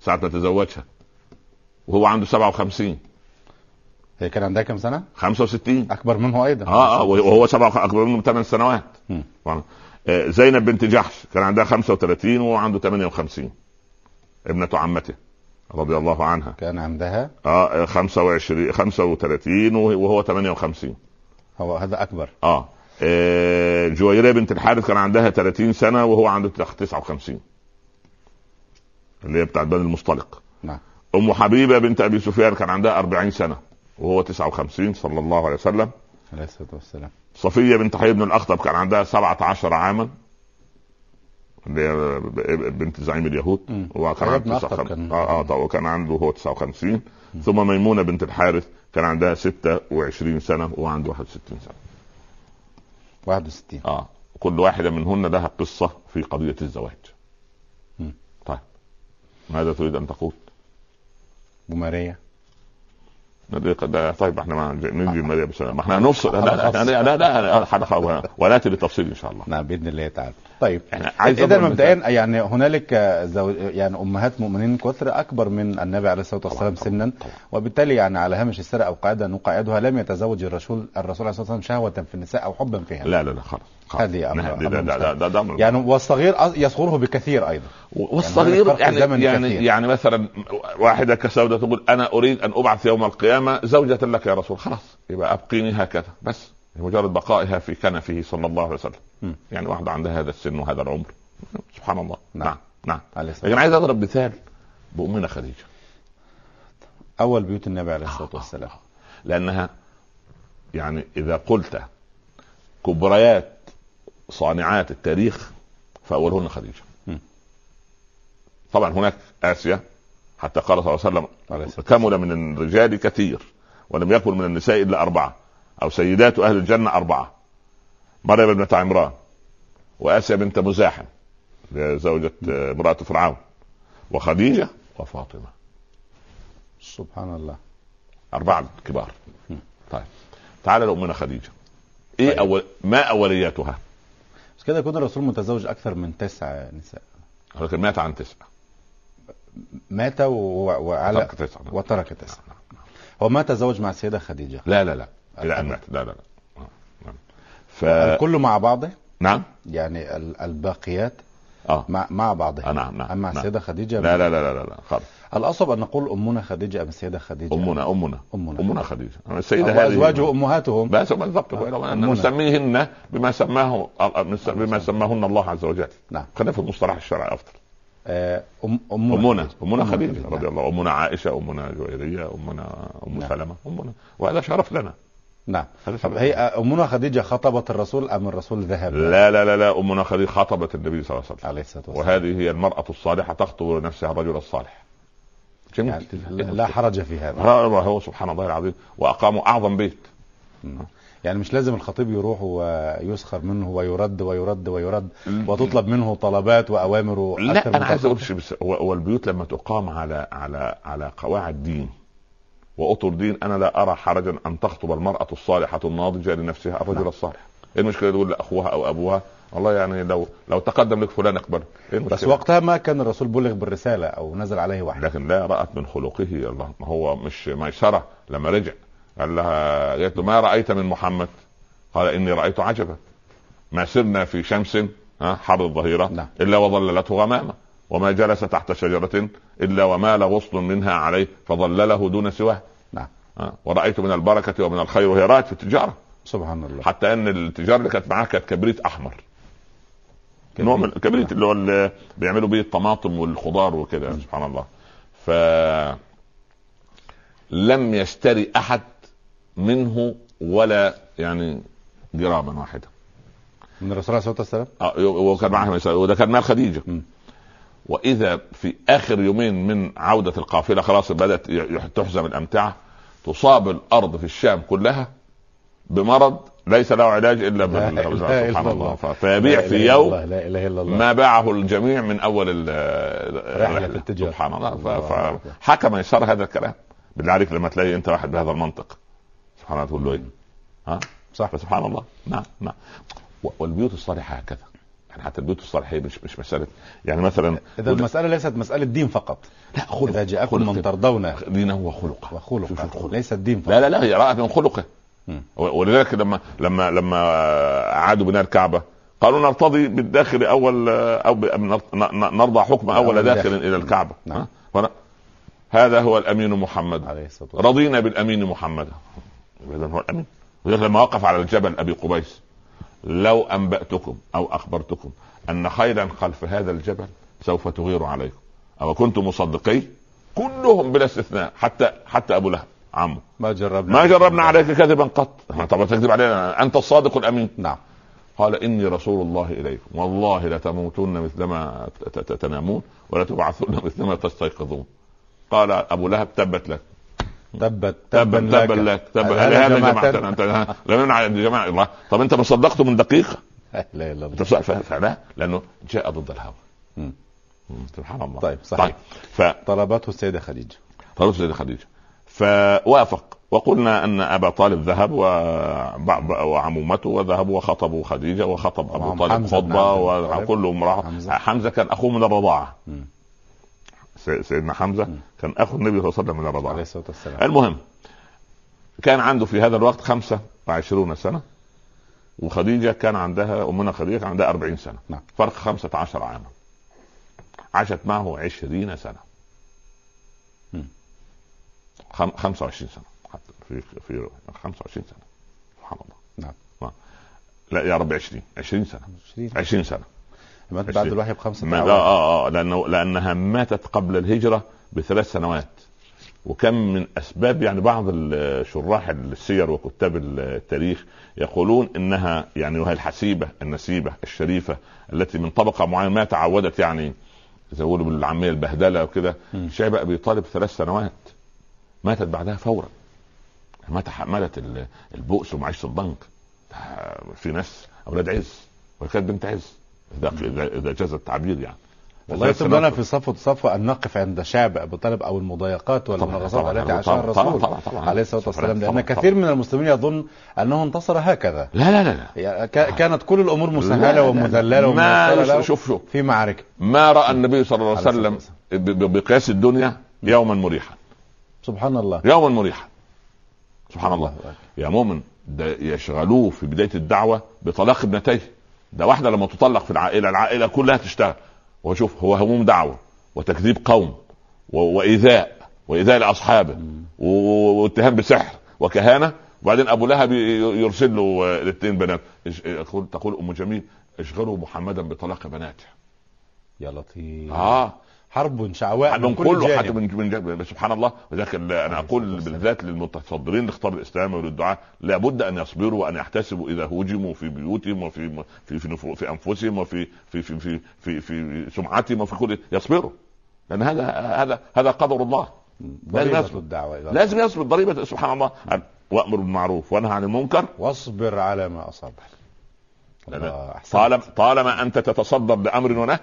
B: ساعه ما تزوجها وهو عنده 57
A: هي كان عندها كم سنه
B: 65
A: اكبر منه ايضا
B: اه اه وهو سبع اكبر منه بثمان سنوات
A: مم.
B: طبعاً. آه، زينب بنت جحش كان عندها 35 وهو عنده 58 ابنة عمته رضي الله عنها
A: كان عندها
B: اه آه، 25 35 وه- وهو 58
A: هو هذا اكبر
B: اه آه، جويرية بنت الحارث كان عندها 30 سنة وهو عنده 59 اللي هي بتاعت بني المصطلق
A: نعم
B: ام حبيبة بنت ابي سفيان كان عندها 40 سنة وهو 59 صلى الله عليه وسلم
A: عليه الصلاه والسلام
B: صفية بنت حي بن الأخطب كان عندها 17 عاما اللي هي بنت زعيم اليهود
A: مم.
B: وكان
A: حي
B: عنده
A: بن الأخطب
B: 59
A: كان-
B: اه اه طبعا وكان عنده هو 59 ثم ميمونة بنت الحارث كان عندها 26 سنة وعنده 61 سنة
A: 61
B: اه كل واحدة منهن لها قصة في قضية الزواج
A: مم.
B: طيب ماذا تريد أن تقول؟
A: وماريا
B: طيب احنا ما نجي مريم ما احنا نفصل لا لا لا لا, لا, لا وناتي بالتفصيل ان شاء الله
A: نعم باذن الله تعالى طيب
B: احنا عايز
A: اذا
B: أضرب
A: مبدئيا
B: مثال.
A: يعني هنالك زوج يعني امهات مؤمنين كثر اكبر من النبي عليه الصلاه والسلام
B: طبعاً،
A: سنا
B: طبعاً.
A: وبالتالي يعني على هامش السرقه او قاعده نقعدها لم يتزوج الرسول الرسول عليه الصلاه والسلام شهوه في النساء او حبا فيها
B: لا لا لا خلاص خلاص.
A: هذه أمر-
B: نهدي،
A: أمر
B: لا لا لا ده ده أمر.
A: يعني والصغير أص- يصغره بكثير ايضا
B: والصغير
A: فرق
B: يعني
A: زمن
B: يعني يعني,
A: كثير.
B: يعني مثلا واحده كسودة تقول انا اريد ان ابعث يوم القيامه زوجة لك يا رسول خلاص يبقى ابقيني هكذا بس مجرد بقائها في كنفه صلى الله عليه وسلم
A: م.
B: يعني واحده عندها هذا السن وهذا العمر سبحان الله
A: نعم.
B: نعم نعم
A: عليه الصلاه
B: لكن عايز اضرب مثال بامنا خديجه
A: اول بيوت النبي عليه الصلاه والسلام
B: آه. لانها يعني اذا قلت كبريات صانعات التاريخ فاولهن خديجه.
A: مم.
B: طبعا هناك اسيا حتى قال صلى الله عليه
A: عليه
B: وسلم
A: الصلاة
B: كمل من الرجال كثير ولم يكن من النساء الا اربعه او سيدات اهل الجنه اربعه. مريم ابنه عمران واسيا بنت مزاحم زوجة امرأة فرعون وخديجة وفاطمة
A: سبحان الله
B: أربعة كبار
A: مم.
B: طيب تعال لأمنا خديجة إيه
A: طيب.
B: أول ما أولياتها؟
A: بس كده يكون الرسول متزوج اكثر من تسع نساء
B: ولكن مات عن تسعة
A: مات و... وعلى
B: ترك تسعة نعم.
A: وترك تسع هو ما تزوج مع السيده خديجه
B: لا لا لا إلى أن مات لا لا لا آه، نعم. ف
A: الكل مع بعضه
B: نعم
A: يعني ال- الباقيات
B: اه
A: مع مع بعضها
B: آه، نعم نعم
A: اما
B: نعم.
A: السيده خديجه
B: لا لا لا لا لا, لا. خالص
A: الاصعب ان نقول امنا خديجه ام السيده خديجه
B: أمنا أمنا
A: امنا
B: أمنا خديجة السيدة هذه
A: وازواجه امهاتهم
B: بس بالضبط
A: أمنا.
B: نسميهن بما سماه آه، بما سماهن الله عز وجل
A: نعم
B: خلينا في المصطلح الشرعي افضل
A: آه، أم امنا
B: امنا امنا
A: أمنا
B: خديجه
A: خديجة،
B: رضي
A: نعم.
B: الله امنا عائشه امنا جويريه امنا ام
A: نعم.
B: سلمه امنا وهذا شرف لنا
A: نعم
B: هذا شرف
A: طب
B: لنا.
A: هي آه، امنا خديجه خطبت الرسول ام الرسول ذهب
B: لا لا لا لا امنا خديجه خطبت النبي صلى الله عليه وسلم
A: عليه الصلاه والسلام
B: وهذه هي المراه الصالحه تخطب نفسها الرجل الصالح
A: يعني لا لا حرج في هذا
B: لا الله هو سبحان الله العظيم واقاموا اعظم بيت
A: يعني مش لازم الخطيب يروح ويسخر منه ويرد ويرد ويرد وتطلب منه طلبات واوامر وأكثر
B: لا
A: من
B: انا عايز
A: طلب.
B: اقول شيء بس هو هو البيوت لما تقام على على على قواعد دين واطر دين انا لا ارى حرجا ان تخطب المراه الصالحه الناضجه لنفسها الرجل الصالح ايه المشكله تقول لاخوها او ابوها والله يعني لو لو تقدم لك فلان اقبله إيه
A: بس
B: المشكلة؟
A: وقتها ما كان الرسول بلغ بالرساله او نزل عليه وحي
B: لكن لا رأت من خلقه الله ما هو مش ميسرة لما رجع قال لها قالت له ما رأيت من محمد؟ قال إني رأيت عجبا ما سرنا في شمس ها، حر الظهيرة
A: نعم.
B: إلا وظللته غمامة وما جلس تحت شجرة إلا ومال غصن منها عليه فظلله دون سواه
A: نعم
B: ها، ورأيت من البركة ومن الخير وهي رأت في التجارة
A: سبحان الله
B: حتى أن التجارة اللي كانت معاها كانت كبريت أحمر نوع من الكبريت اللي هو اللي بيعملوا بيه الطماطم والخضار وكده سبحان الله ف لم يشتري احد منه ولا يعني جراما واحده
A: من الرسول عليه الصلاه والسلام
B: آه، وكان معاها ميساء، وده كان مال خديجه
A: مم.
B: واذا في اخر يومين من عوده القافله خلاص بدات يح- تحزم الامتعه تصاب الارض في الشام كلها بمرض ليس له علاج الا
A: لا
B: بال-
A: إله
B: سبحان
A: إلا
B: الله
A: الله.
B: ف- فيبيع
A: لا إله
B: في
A: إلا
B: يوم
A: الله، لا اله الا الله
B: ما باعه الجميع من اول ال-
A: رحلة
B: الرحلة.
A: التجارة.
B: سبحان الله ف-
A: الله أكبر.
B: فحكم يسار هذا الكلام بالله عليك لما تلاقي انت واحد بهذا المنطق سبحان الله تقول له ايه؟ ها؟
A: صح
B: فسبحان الله نعم نعم و- والبيوت الصالحه هكذا يعني حتى البيوت الصالحه هي مش مش مساله يعني مثلا
A: اذا المساله ليست مساله دين فقط
B: لا خلق
A: اذا جاءكم من
B: خلق.
A: ترضون
B: دينه وخلقه شوف
A: وخلقه
B: الخلق.
A: ليس الدين فقط
B: لا لا لا هي رأت من خلقه
A: مم.
B: و- ولذلك لما لما لما عادوا بناء الكعبه قالوا نرتضي بالداخل اول او ب- نر- ن- نرضى حكم اول
A: أول
B: داخل
A: نعم، داخل.
B: الى الكعبه
A: نعم.
B: ها؟ فأنا- هذا هو الامين محمد
A: عليه الصلاه والسلام
B: رضينا بالامين محمد اذا هو الامين ولذلك لما وقف على الجبل ابي قبيس لو انباتكم او اخبرتكم ان خيلا خلف هذا الجبل سوف تغير عليكم او كنتم مصدقي كلهم بلا استثناء حتى حتى ابو لهب عمه
A: ما جربنا
B: ما جربنا عليك كذبا قط طب تكذب علينا انت الصادق الامين
A: نعم
B: قال اني رسول الله اليكم والله لتموتن مثلما ت- ت- تنامون ولا تبعثن مثلما تستيقظون قال ابو لهب تبت لك
A: تبت
B: تبا تبا لك تبا
A: هل
B: هذا
A: جمعتنا؟
B: جماعتنا انت ها، لا من على جماعه الله طب انت ما صدقته من دقيقه
A: لا اله الا
B: انت
A: الله
B: ص- ف- فلا لانه جاء ضد الهوى
A: مم.
B: مم، سبحان الله
A: طيب، صحيح.
B: طيب ف
A: طلبته السيده خديجه
B: طلبت زي خديجه فوافق وقلنا ان ابا طالب ذهب وبعض وعمومته ذهبوا وخطبوا خديجه وخطب ابو
A: وعم
B: طالب
A: حمزة بن
B: خطبه
A: عبد المطلب.
B: وكلهم راحوا
A: حمزة.
B: حمزه كان اخوه من الرضاعه
A: مم.
B: سي- سيدنا حمزه
A: مم.
B: كان اخو النبي صلى الله عليه وسلم من
A: عليه
B: الرضاعه
A: الصلاه والسلام
B: المهم كان عنده في هذا الوقت 25 سنه وخديجه كان عندها امنا خديجه كان عندها 40 سنه
A: نعم.
B: فرق 15 عاما عاشت معه 20 سنه
A: مم.
B: خم... 25 سنه حتى في في 25 سنه سبحان الله
A: نعم.
B: نعم لا يا رب 20 20 سنه
A: 20
B: 20 سنه
A: مات بعد
B: عشرين.
A: الوحي بخمسه
B: ما لا
A: أعوام.
B: اه اه لانه لانها ماتت قبل الهجره بثلاث سنوات وكم من اسباب يعني بعض ال- شراح السير وكتاب التاريخ يقولون انها يعني وهي الحسيبه النسيبه الشريفه التي من طبقه معينه ما تعودت يعني زي ما يقولوا بالعاميه البهدله وكده
A: مم.
B: شعب ابي طالب ثلاث سنوات ماتت بعدها فورا ما تحملت ال- البؤس ومعيشه الضنك في ناس اولاد عز وكانت بنت عز اذا اذا جاز التعبير يعني
A: والله
B: فثلاث
A: يطلبنا
B: سنوات.
A: في صفوة صفوة أن نقف عند شعب أبو طالب أو المضايقات والمناغصات التي
B: طبعاً،
A: عاشها
B: طبعاً، طبعاً،
A: الرسول
B: طبعاً، طبعاً.
A: عليه الصلاة والسلام
B: طبعاً،
A: لأن
B: طبعاً.
A: كثير من المسلمين يظن أنه انتصر هكذا
B: لا لا لا لا
A: يعني ك- كانت كل الأمور
B: لا، لا،
A: مسهلة
B: لا.
A: ومذللة وميسرة
B: ما
A: له
B: شوف شوف
A: في معركة
B: ما راى النبي صلى الله
A: عليه
B: عليه وسلم
A: الصلاة
B: ب- ب- بقياس الدنيا يوما مريحا
A: سبحان الله
B: يوما مريحا سبحان الله
A: أكبر.
B: يا مؤمن ده يشغلوه في بدايه الدعوه بطلاق ابنتيه ده واحده لما تطلق في العائله العائله كلها تشتغل وشوف هو هموم دعوه وتكذيب قوم و- وايذاء وايذاء لاصحابه و- و- واتهام بسحر وكهانه وبعدين ابو لهب ي- يرسل له آه، الاثنين بنات إش- تقول تقول ام جميل اشغلوا محمدا بطلاق بناته
A: يا لطيف
B: اه
A: حرب شعواء
B: من
A: من كل
B: كله حتى
A: جانب
B: من من جانب سبحان الله ولذلك ال- انا اقول بالذات للمتصدرين اللي اختاروا الاسلام وللدعاء لابد ان يصبروا وان يحتسبوا اذا هوجموا في بيوتهم وفي في في, نفو- في انفسهم وفي في في في في, في سمعتهم وفي كل يصبروا لان هذا هذا هذا قدر الله
A: ضريبة الدعوة إلى الله.
B: لازم يصبر ضريبه سبحان الله أن- وامر بالمعروف وانهى عن المنكر
A: واصبر على ما أصابك
B: لا،
A: الله،
B: لا.
A: أحسنت.
B: طالما طالما انت تتصدر لامر ونهي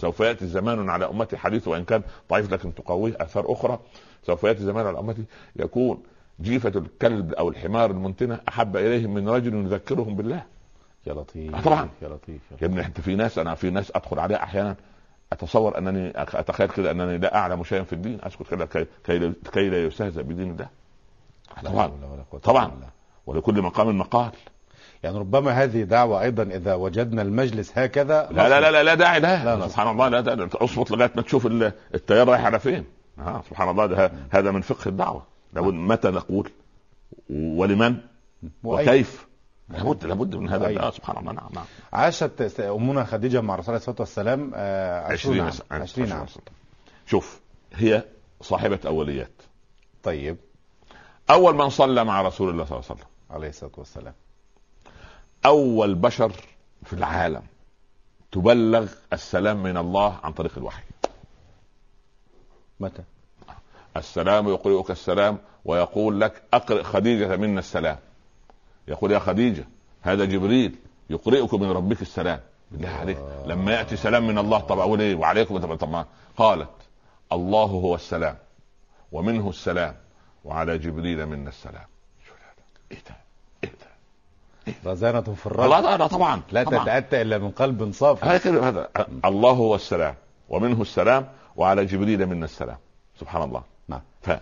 B: سوف ياتي زمان على امتي حديث وان كان ضعيف لكن تقويه اثار اخرى سوف ياتي زمان على امتي يكون جيفة الكلب او الحمار المنتنة احب اليهم من رجل يذكرهم بالله
A: يا لطيف
B: آه، طبعاً.
A: يا لطيف يا
B: يا
A: لطيف.
B: ابني انت في ناس انا في ناس ادخل عليها احيانا اتصور انني أخ- اتخيل كده انني لا اعلم شيئا في الدين اسكت كده كي- كي لا- كي لا يستهزأ بدين الله
A: لا
B: طبعاً.
A: حول ولا قوة
B: طبعاً.
A: إلا بالله.
B: ولكل مقام مقال
A: يعني ربما هذه دعوة أيضا إذا وجدنا المجلس هكذا
B: لا لا لا لا لا داعي
A: لا،
B: لها
A: لا.
B: سبحان الله لا داعي لها. اصبط لغايه ما تشوف ال- التيار رايح على فين آه سبحان الله ده هذا من فقه الدعوه لابد متى نقول ولمن
A: وأي
B: وكيف لابد لابد من هذا
A: وأين؟
B: آه سبحان الله نعم نعم
A: عاشت س- امنا خديجه مع الرسول عليه الصلاه والسلام آه، 20 عام 20 عام
B: سنة. شوف هي صاحبه اوليات
A: طيب
B: اول من صلى مع رسول الله صلى الله عليه وسلم
A: عليه الصلاه والسلام
B: اول بشر في العالم تبلغ السلام من الله عن طريق الوحي
A: متى؟
B: السلام يقرئك السلام ويقول لك اقرئ خديجه منا السلام يقول يا خديجه هذا جبريل يقرئك من ربك السلام بالله عليك لما ياتي سلام من الله طب اقول ايه وعليكم طب طب ما- قالت الله هو السلام ومنه السلام وعلى جبريل منا السلام شو هذا؟ ايه ده؟ ايه ده؟
A: رزانه في الرب
B: لا لا طبعا
A: لا
B: طبعاً.
A: تتاتى الا من قلب صافي
B: هذا كده- هذا الله هو السلام ومنه السلام وعلى جبريل منا السلام سبحان الله
A: نعم.
B: ف آه،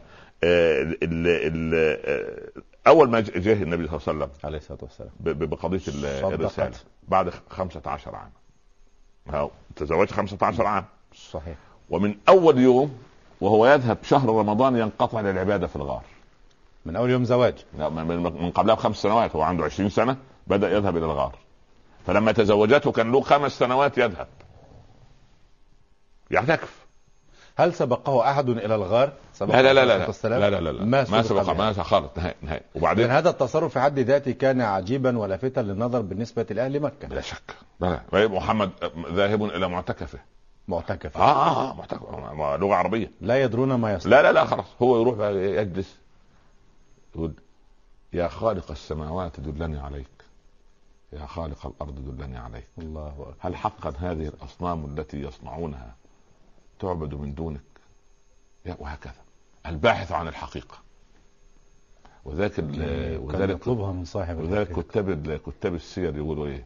B: ال ال آه، اول ما جاء النبي صلى الله عليه وسلم
A: عليه الصلاه والسلام
B: ب- ب- بقضيه ال-
A: صدقت.
B: الرساله بعد 15 عام هاو، تزوجت 15 عام
A: صحيح
B: ومن اول يوم وهو يذهب شهر رمضان ينقطع للعباده في الغار
A: من اول يوم زواج
B: لا، من- من من قبلها بخمس سنوات هو عنده 20 سنه بدا يذهب الى الغار فلما تزوجته كان له خمس سنوات يذهب يعتكف
A: هل سبقه احد الى الغار؟ سبقه
B: لا لا لا
A: عليه
B: لا
A: الصلاة
B: لا
A: والسلام؟
B: لا لا لا لا.
A: ما
B: ما سبق ما
A: بهذا.
B: سبق خالص نهائي نهائي
A: إذن
B: وبعدين
A: هذا التصرف في حد ذاته كان عجيبا ولافتا للنظر بالنسبه لاهل مكه
B: بلا شك بلا طيب محمد ذاهب الى معتكفه
A: معتكف
B: اه اه, آه معتكف آه، لغه عربيه
A: لا يدرون ما يصنع
B: لا لا لا خلاص هو يروح بقى يجلس يقول يا خالق السماوات دلني عليك يا خالق الارض دلني عليك
A: الله اكبر
B: هل حقا هذه الاصنام التي يصنعونها تعبد من دونك؟ يا- وهكذا الباحث عن الحقيقه وذاك ال-
A: كان
B: وذلك
A: يطلبها من صاحب
B: وذلك
A: الحقيقة.
B: كتاب ال- كتاب السير يقولوا ايه؟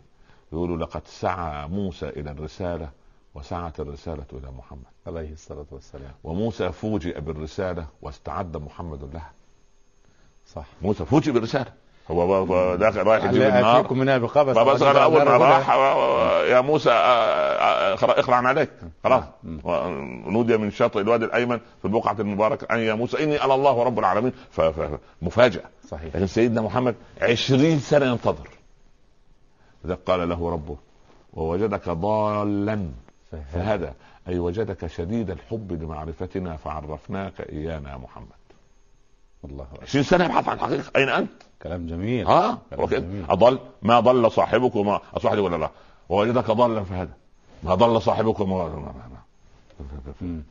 B: يقولوا لقد سعى موسى الى الرساله وسعت الرساله الى محمد
A: عليه الصلاة والسلام
B: وموسى فوجئ بالرساله واستعد محمد لها
A: صح
B: موسى فوجئ بالرساله هو هو- هو داخل رايح يجيب
A: لا
B: النار
A: أتيكم منها بقبس
B: فبس
A: ولا
B: قال اول ما
A: أرى
B: راح يا موسى آه، آه، آه، اخلع عن عليك خلاص
A: مم.
B: ونودي من شاطئ الوادي الايمن في البقعه المباركه ان يا موسى اني انا الله رب العالمين ف- ف- مفاجاه
A: صحيح
B: لكن سيدنا محمد عشرين سنة ينتظر إذا قال له ربه ووجدك ضالا
A: فهذا
B: فهدى أي وجدك شديد الحب لمعرفتنا فعرفناك إيانا يا محمد
A: الله أكبر.
B: 20 سنة يبحث عن الحقيقة أين أنت؟
A: كلام جميل
B: ها
A: كلام
B: وكده
A: جميل.
B: أضل ما ضل صاحبك وما أصحابك ولا لا ووجدك ضالا فهدى ما ضل صاحبك وما ما- ما- ما-
A: مم.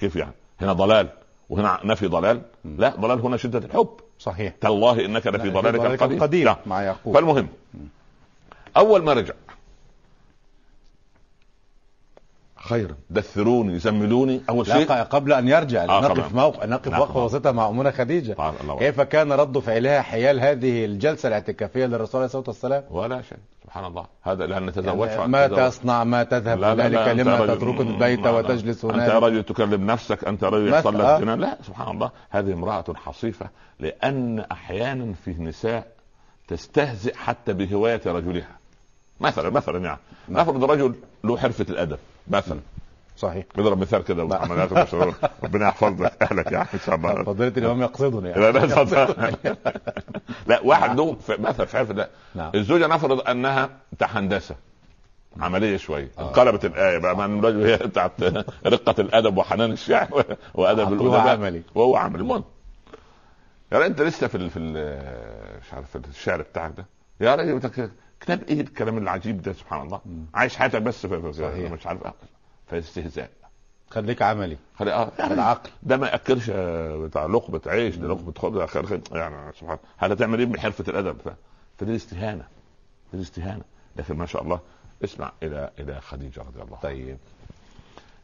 B: كيف يعني هنا ضلال وهنا نفي ضلال
A: مم.
B: لا ضلال هنا شدة الحب
A: صحيح
B: تالله إنك لفي ضلالك القديم
A: القديم
B: نعم.
A: مع يعقوب
B: فالمهم اول ما رجع خيرا دثروني زملوني اول شيء
A: لا ق- قبل ان يرجع
B: آه،
A: نقف
B: طبعاً.
A: موقف نقف
B: نعم،
A: وقفه
B: طبعاً.
A: وسطها مع امنا خديجه
B: طبعاً، الله أكبر.
A: كيف كان رد فعلها حيال هذه الجلسه الاعتكافيه للرسول عليه الصلاه والسلام
B: ولا شيء سبحان الله هذا لان تزوجت
A: يعني
B: عن-
A: ما
B: تزوج.
A: تصنع ما تذهب
B: لا، لا،
A: هنالك
B: لا، أنت
A: لما
B: رجل-
A: تترك
B: م-
A: البيت
B: لا، لا.
A: وتجلس
B: انت
A: هناك
B: رجل تكلم نفسك انت رجل
A: مثل-
B: يحصل
A: آه.
B: لك زنا لا سبحان الله هذه امراه حصيفه لان احيانا في نساء تستهزئ حتى بهوايه رجلها مثلا مثلا يعني
A: نعم.
B: نفرض رجل له حرفه الادب مثلا
A: صحيح
B: نضرب مثال كده
A: نعم.
B: وعمليات المشهور ربنا يحفظ لك اهلك يا عم ان شاء الله
A: فضيله الامام يقصدني يعني
B: لا لا اتفضل. لا واحد له في- مثلا في عرف ده
A: نعم
B: الزوجه آه. نفرض انها بتاع هندسه عمليه شويه
A: آه.
B: انقلبت الايه بقى من الرجل هي بتاعت رقه الادب وحنان الشعر وادب
A: عقله
B: الادب
A: عملي
B: وهو عمل المهم يا راجل انت لسه في ال في ال- مش عارف الشعر بتاعك ده يا راجل بتك- كتاب ايه الكلام العجيب ده سبحان الله
A: مم.
B: عايش حياتك بس في في- في
A: صحيح.
B: مش عارف فاستهزاء
A: خليك عملي
B: خلي اه يعني
A: بالعقل
B: ده ما ياكلش آه، بتاع لقمه عيش ده لقمه خبز ده خير خير. يعني سبحان الله هتعمل ايه بحرفه الادب ف- فدي استهانه دي استهانه لكن ما شاء الله اسمع الى الى خديجه رضي الله عنها
A: طيب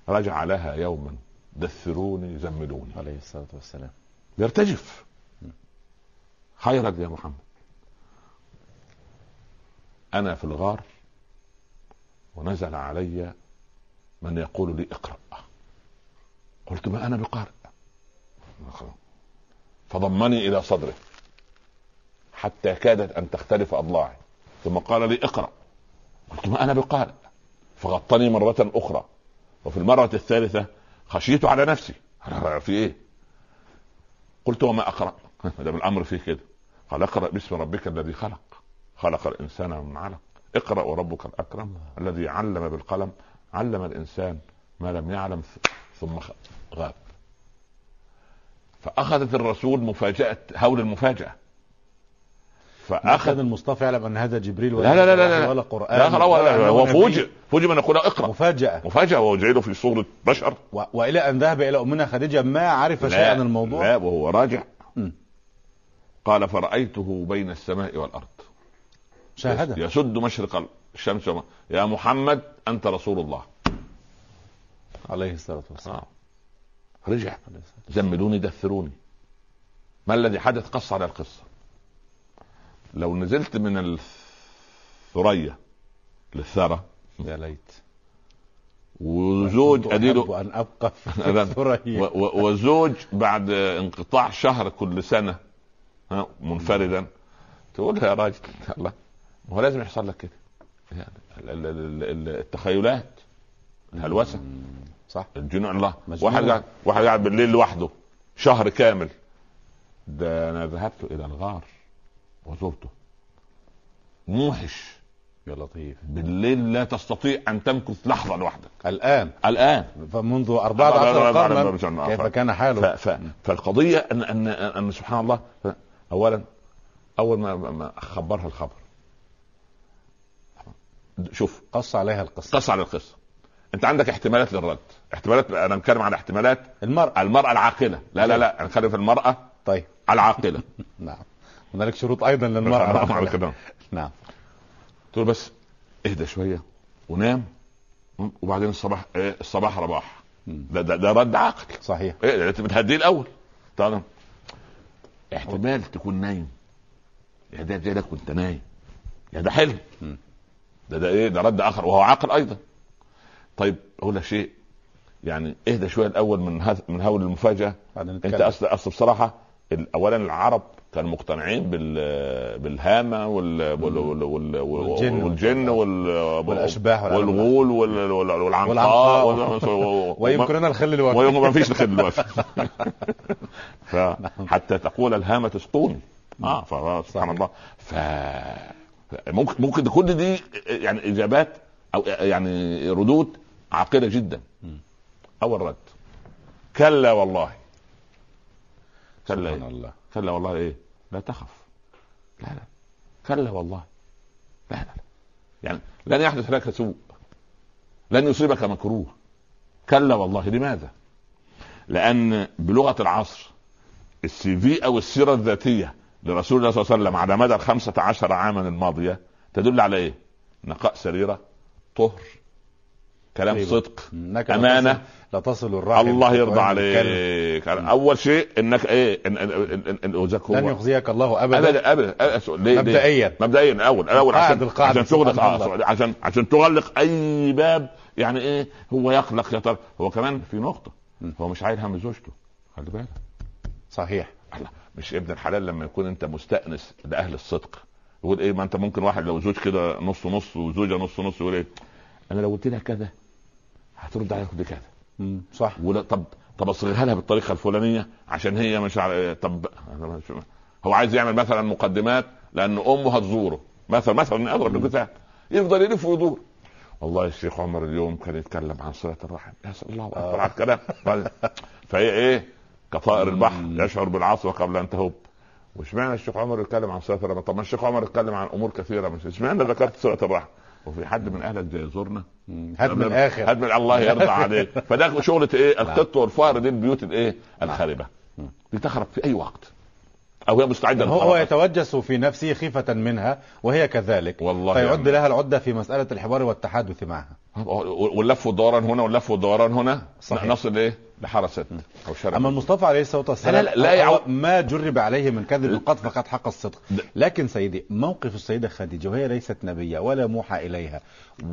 B: رجع لها يوما دثروني زملوني
A: عليه الصلاه والسلام
B: يرتجف خيرا يا محمد انا في الغار ونزل علي من يقول لي اقرا قلت ما انا بقارئ فضمني الى صدره حتى كادت ان تختلف اضلاعي ثم قال لي اقرا قلت ما انا بقارئ فغطني مره اخرى وفي المره الثالثه خشيت على نفسي في ايه قلت وما اقرا ما دام الامر فيه كده قال اقرا باسم ربك الذي خلق خلق الانسان من علق اقرا وربك الاكرم الذي علم بالقلم علم الانسان ما لم يعلم ث- ثم خ- غاب فاخذت الرسول مفاجاه هول المفاجاه
A: اخذ
B: فاخذ
A: المصطفى يعلم ان هذا جبريل
B: لا لا لا لا لا.
A: ولا قران
B: لا خلاص
A: ولا
B: هو-
A: أنه
B: هو
A: آه، نبي.
B: فوجئ فوجئ من يقول اقرا
A: مفاجاه
B: مفاجاه وهو جاي له في صوره بشر
A: و- والى ان ذهب الى امنا خديجه ما عرف شيئا
B: لا
A: عن الموضوع
B: لا وهو راجع
A: مم.
B: قال فرأيته بين السماء والأرض
A: شاهدها
B: يسد مشرق الشمس وم... يا محمد أنت رسول الله
A: عليه الصلاه والسلام
B: آه. رجع
A: عليه الصلاة والسلام.
B: زملوني دثروني ما الذي حدث قص على القصة لو نزلت من الثريا للثرى
A: يا ليت
B: وزوج
A: كنت
B: أديله
A: أحب أن أبقى في
B: لا. و-
A: الثريا
B: و- وزوج بعد انقطاع شهر كل سنه ها منفردا تقول لها يا راجل الله ما هو لازم يحصل لك كده يعني ال- ال- ال- ال- التخيلات الهلوسه
A: صح
B: الجنون الله
A: مجنون.
B: واحد قاعد واحد قاعد بالليل لوحده شهر كامل ده انا ذهبت الى الغار وزرته موحش
A: يا لطيف
B: بالليل لا تستطيع ان تمكث لحظه لوحدك
A: الآن
B: الان
A: فمنذ
B: آه،
A: 14 قرنا كيف كان
B: ف...
A: حاله
B: ف... فالقضيه ان ان ان سبحان الله ف... اولا اول ما, ما خبرها الخبر شوف
A: قص عليها القصة
B: قص على القصه انت عندك احتمالات للرد احتمالات انا بتكلم عن احتمالات
A: المرأة
B: المراه العاقله لا لا لا انا بتكلم في المراه
A: طيب
B: العاقله
A: نعم هنالك شروط أيضا
B: حرام
A: للمرأة
B: عليك ده.
A: نعم
B: قلت له بس اهدى شويه ونام وبعدين الصباح إيه، الصباح رباح
A: مم.
B: ده ده, ده رد عاقل
A: صحيح
B: ايه ده انت بتهديه الاول تمام احتمال تكون نايم يا ده زي ده كنت نايم يا ده حلم
A: م.
B: ده ده ايه ده رد اخر وهو عاقل ايضا طيب اقول لك شيء يعني اهدى شويه الاول من هذ- من هول المفاجاه
A: بعدين
B: انت
A: نتكلم
B: اصل اصل بصراحه ال- اولا العرب كانوا مقتنعين بال بالهامه وال وال وال وال
A: والجن.
B: وال- والجن وال
A: والأشباح والعالم
B: والغول وال- وال-
A: والعنقاء.
B: والعنقاء وال-
A: ويمكن أنا الخل الوافي
B: ويوم ما فيش الخير دلوقتي فحتى تقول الهامة اسقوني اه ف- سبحان الله ف ممكن ممكن كل دي يعني اجابات او يعني ردود عاقله جدا اول رد كلا والله كلا
A: سبحان
B: إيه؟
A: الله
B: كلا والله ايه لا تخف لا لا كلا والله لا لا لا. يعني لن يحدث لك سوء لن يصيبك مكروه كلا والله لماذا لان بلغه العصر السي في او السيره الذاتيه لرسول الله صلى الله عليه وسلم على مدى الخمسة عشر عاما الماضية تدل على ايه نقاء سريرة طهر كلام
A: طيبة.
B: صدق
A: انك
B: أمانة.
A: لا تصل الرحم
B: الله يرضى
A: وتؤمن الكلم.
B: عليك
A: مم.
B: اول شيء انك ايه إن- إن- إن- إن- وزكوا
A: لن يخزيك الله ابدا
B: ابدا ابدا أبداً. ليه ليه؟
A: مبدئياً.
B: مبدئيا الاول الاول
A: القاعدة-
B: عشان
A: القاعدة
B: عشان تغلق
A: سبحان
B: آه،
A: الله.
B: عشان عشان تغلق اي باب يعني ايه هو يقلق يا ترى هو كمان في نقطه
A: مم.
B: هو مش عايل هم زوجته خلي بالك
A: صحيح
B: الله، مش ابن الحلال لما يكون انت مستانس لاهل الصدق يقول ايه ما انت ممكن واحد لو زوج كده نص نص وزوجه نص نص يقول ايه انا لو قلت لها كذا هترد عليك بكذا
A: مم. صح
B: ولا طب طب اصغيها لها بالطريقه الفلانيه عشان هي مش على طب هو عايز يعمل مثلا مقدمات لان امه هتزوره مثلا مثلا اضرب المثال يفضل يلف ويدور والله الشيخ عمر اليوم كان يتكلم عن صله الرحم يا سلام
A: آه.
B: الله اكبر على الكلام فهي ايه كطائر البحر يشعر بالعصر قبل ان تهب واشمعنى الشيخ عمر يتكلم عن صله الرحم طب ما الشيخ عمر يتكلم عن امور كثيره مش اشمعنى ذكرت صله الرحم وفي حد من اهلك ده يزورنا
A: مم. هات من نعم. الاخر
B: هات من الله يرضى عليك فده شغله ايه القط والفار دي البيوت الايه الخاربه دي تخرب في اي وقت او هي مستعده
A: هو نعم. هو
B: للخراب.
A: يتوجس في نفسه خيفة منها وهي كذلك
B: والله
A: فيعد
B: يعني.
A: لها العدة في مسألة الحوار والتحدث معها
B: واللف والدوران هنا واللف والدوران هنا
A: صحيح.
B: نصل ايه لحاره ست او شارع
A: اما المصطفى عليه الصلاه والسلام
B: لا- لا- لا
A: هو
B: يعو-
A: ما جرب عليه من كذب
B: لا.
A: قط فقد حق الصدق
B: لا.
A: لكن سيدي موقف السيده خديجه وهي ليست نبيه ولا موحى اليها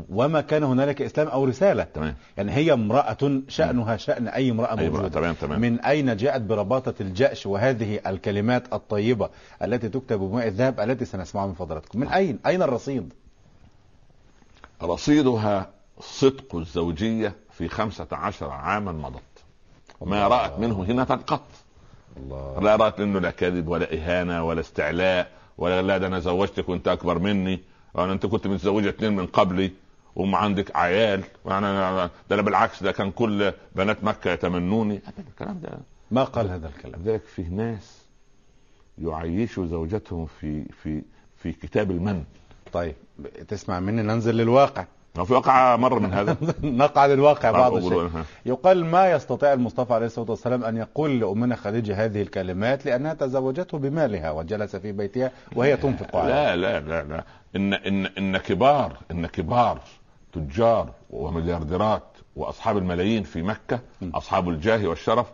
A: وما كان هنالك اسلام او رساله
B: تمام
A: يعني هي امراه شانها شان اي امراه
B: أي امرأة،
A: موجوده
B: تمام تمام
A: من أين جاءت برباطة الجأش وهذه الكلمات الطيبة التي تكتب بماء الذهب التي سنسمعها من فضلاتكم من أين؟ أين الرصيد؟
B: رصيدها صدق الزوجيه في خمسة عشر عاما مضت ما رأت منه هنا قط
A: الله
B: لا رأت منه لا كذب ولا إهانة ولا استعلاء ولا لا ده أنا زوجتك وأنت أكبر مني أنا أنت كنت متزوجة اتنين من قبلي وما عندك عيال وأنا أنا- ده أنا بالعكس ده كان كل بنات مكة يتمنوني أبدا الكلام ده
A: ما قال هذا الكلام
B: لذلك فيه ناس يعيشوا زوجتهم في في في كتاب المن
A: طيب تسمع مني ننزل للواقع
B: هو في واقعة مرة من هذا
A: نقع للواقع بعض
B: أقول-
A: الشيء
B: ها.
A: يقال ما يستطيع المصطفى عليه الصلاه والسلام ان يقول لامنا خديجه هذه الكلمات لانها تزوجته بمالها وجلس في بيتها وهي تنفق عليه
B: لا لا لا لا ان ان ان كبار ان كبار تجار ومليارديرات واصحاب الملايين في مكه
A: م.
B: اصحاب الجاه والشرف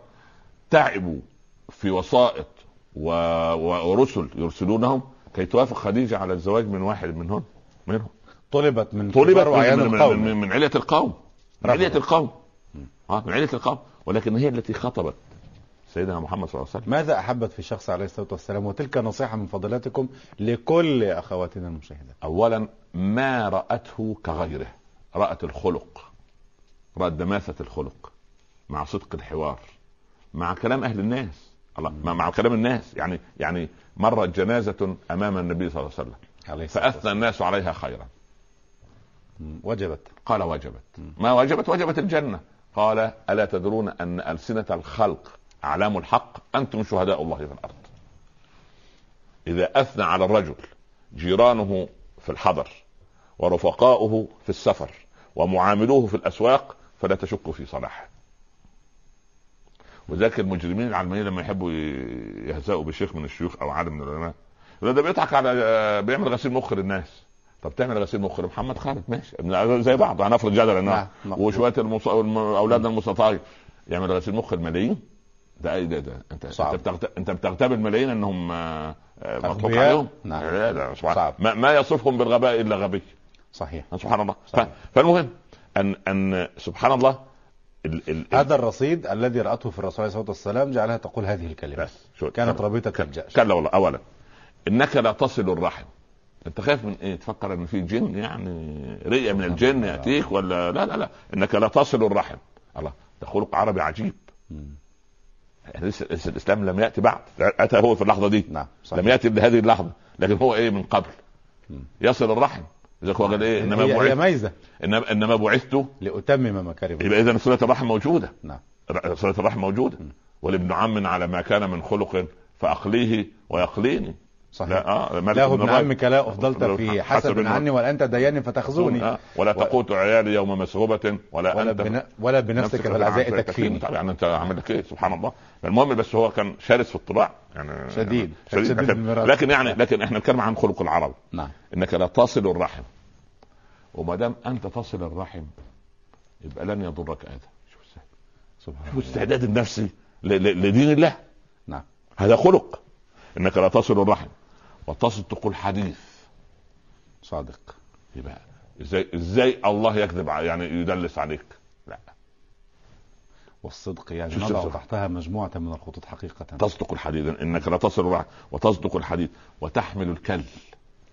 B: تعبوا في وسائط و... و- ورسل يرسلونهم كي توافق خديجه على الزواج من واحد منهم منهم
A: طلبت من
B: طلبت
A: كبار
B: من,
A: وعيان
B: من,
A: القوم
B: من, من, من علية القوم من
A: رفضت.
B: علية القوم آه من علية القوم ولكن هي التي خطبت سيدنا محمد صلى الله عليه وسلم
A: ماذا احبت في الشخص عليه الصلاه والسلام وتلك نصيحه من فضلاتكم لكل اخواتنا المشاهدات
B: اولا ما راته كغيره رات الخلق رات دماثه الخلق مع صدق الحوار مع كلام اهل الناس الله مع- مع كلام الناس يعني يعني مرت جنازه امام النبي صلى الله عليه وسلم
A: عليه الصلاه
B: فاثنى
A: والسلام
B: الناس عليها خيرا
A: مم. وجبت
B: قال وجبت ما وجبت وجبت الجنه قال الا تدرون ان السنه الخلق اعلام الحق انتم شهداء الله في الارض اذا اثنى على الرجل جيرانه في الحضر ورفقاؤه في السفر ومعاملوه في الاسواق فلا تشك في صلاحه وذاك المجرمين العلمانيين لما يحبوا ي- يهزأوا بشيخ من الشيوخ او عالم من العلماء يقول ده بيضحك على بيعمل غسيل مخ للناس طب تعمل غسيل مخ لمحمد خالد ماشي زي بعض هنفرض جدلا
A: نعم.
B: وشويه المص... اولادنا المستطاعين يعمل غسيل مخ الملايين ده أي ده, ده. انت
A: صعب.
B: انت بتغت... انت بتغتبن ملايين انهم آه، آه، مطلوب
A: أغبياء؟
B: عليهم
A: نعم.
B: لا لا سبحان
A: صعب.
B: ما... ما يصفهم بالغباء الا غبي
A: صحيح
B: سبحان الله ف...
A: صحيح.
B: فالمهم ان ان سبحان الله ال... ال... ال...
A: هذا الرصيد الذي رأته في الرسول عليه الصلاة والسلام جعلها تقول هذه الكلمة
B: بس شو
A: كانت رابطة
B: كلا-
A: الجأش
B: كلا والله اولا انك لا تصل الرحم انت خايف من ايه تفكر ان في جن يعني رئه من الجن ياتيك ولا لا لا لا انك لا تصل الرحم الله ده خلق عربي عجيب
A: مم.
B: لسه لسه الاسلام لم ياتي بعد اتى هو في اللحظه دي
A: نعم صحيح.
B: لم ياتي بهذه اللحظه لكن هو ايه من قبل
A: مم.
B: يصل الرحم اذا هو قال ايه انما
A: هي, هي
B: بعثت
A: ميزة
B: انما انما بعثت
A: لأتمم مكارم
B: يبقى اذا صله الرحم موجوده
A: نعم.
B: ر- صله الرحم موجوده والابن عم على ما كان من خلق فاقليه ويقليني
A: صحيح
B: لا اه مالك
A: له
B: بن
A: ابن
B: رجب.
A: عمك لا أفضلت في حسب
B: حسب
A: عني ولا أنت ديان فتخزوني
B: آه، ولا
A: و-
B: تقوت عيالي يوم مسغوبه ولا,
A: ولا,
B: انت
A: بنا ولا بنفسك بالعزاء تكفيني
B: طبعا انت عامل لك ايه سبحان الله المهم بس هو كان شرس في الطباع يعني
A: شديد.
B: شديد,
A: شديد بالمرارة.
B: لكن يعني لكن احنا بنتكلم عن خلق العرب
A: نعم
B: انك لا تصل الرحم وما دام انت تصل الرحم يبقى لن يضرك اذى شوف ازاي
A: سبحان
B: شوف
A: الله
B: الاستعداد النفسي ل- ل- لدين الله
A: نعم
B: هذا خلق انك لا تصل الرحم وتصدق الحديث
A: صادق
B: يبقى ازاي ازاي الله يكذب ع- يعني يدلس عليك لا
A: والصدق يعني
B: شوف- شوف-
A: نضع
B: شوف.
A: تحتها مجموعة من الخطوط حقيقة
B: تصدق الحديث انك لا تصل الرحم وتصدق الحديث وتحمل الكل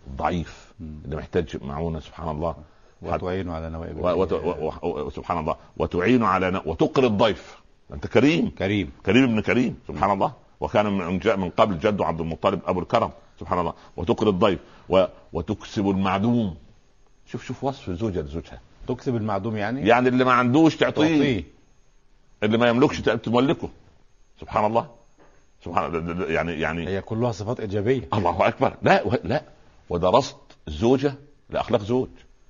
B: الضعيف
A: مم.
B: اللي محتاج معونه سبحان الله
A: وتعين على نوائب
B: و- وت- و- و- و- سبحان الله وتعين على ن- وتقري الضيف انت كريم
A: كريم
B: كريم ابن كريم سبحان الله وكان من جاء من قبل جده عبد المطلب ابو الكرم سبحان الله وتقري الضيف و... وتكسب المعدوم شوف شوف وصف زوجة لزوجها
A: تكسب المعدوم يعني
B: يعني اللي ما عندوش تعطيه
A: تعطيه
B: اللي ما يملكش تملكه سبحان الله سبحان الله يعني يعني
A: هي كلها صفات إيجابية
B: الله اكبر لا و- لا ودرست الزوجه لاخلاق زوج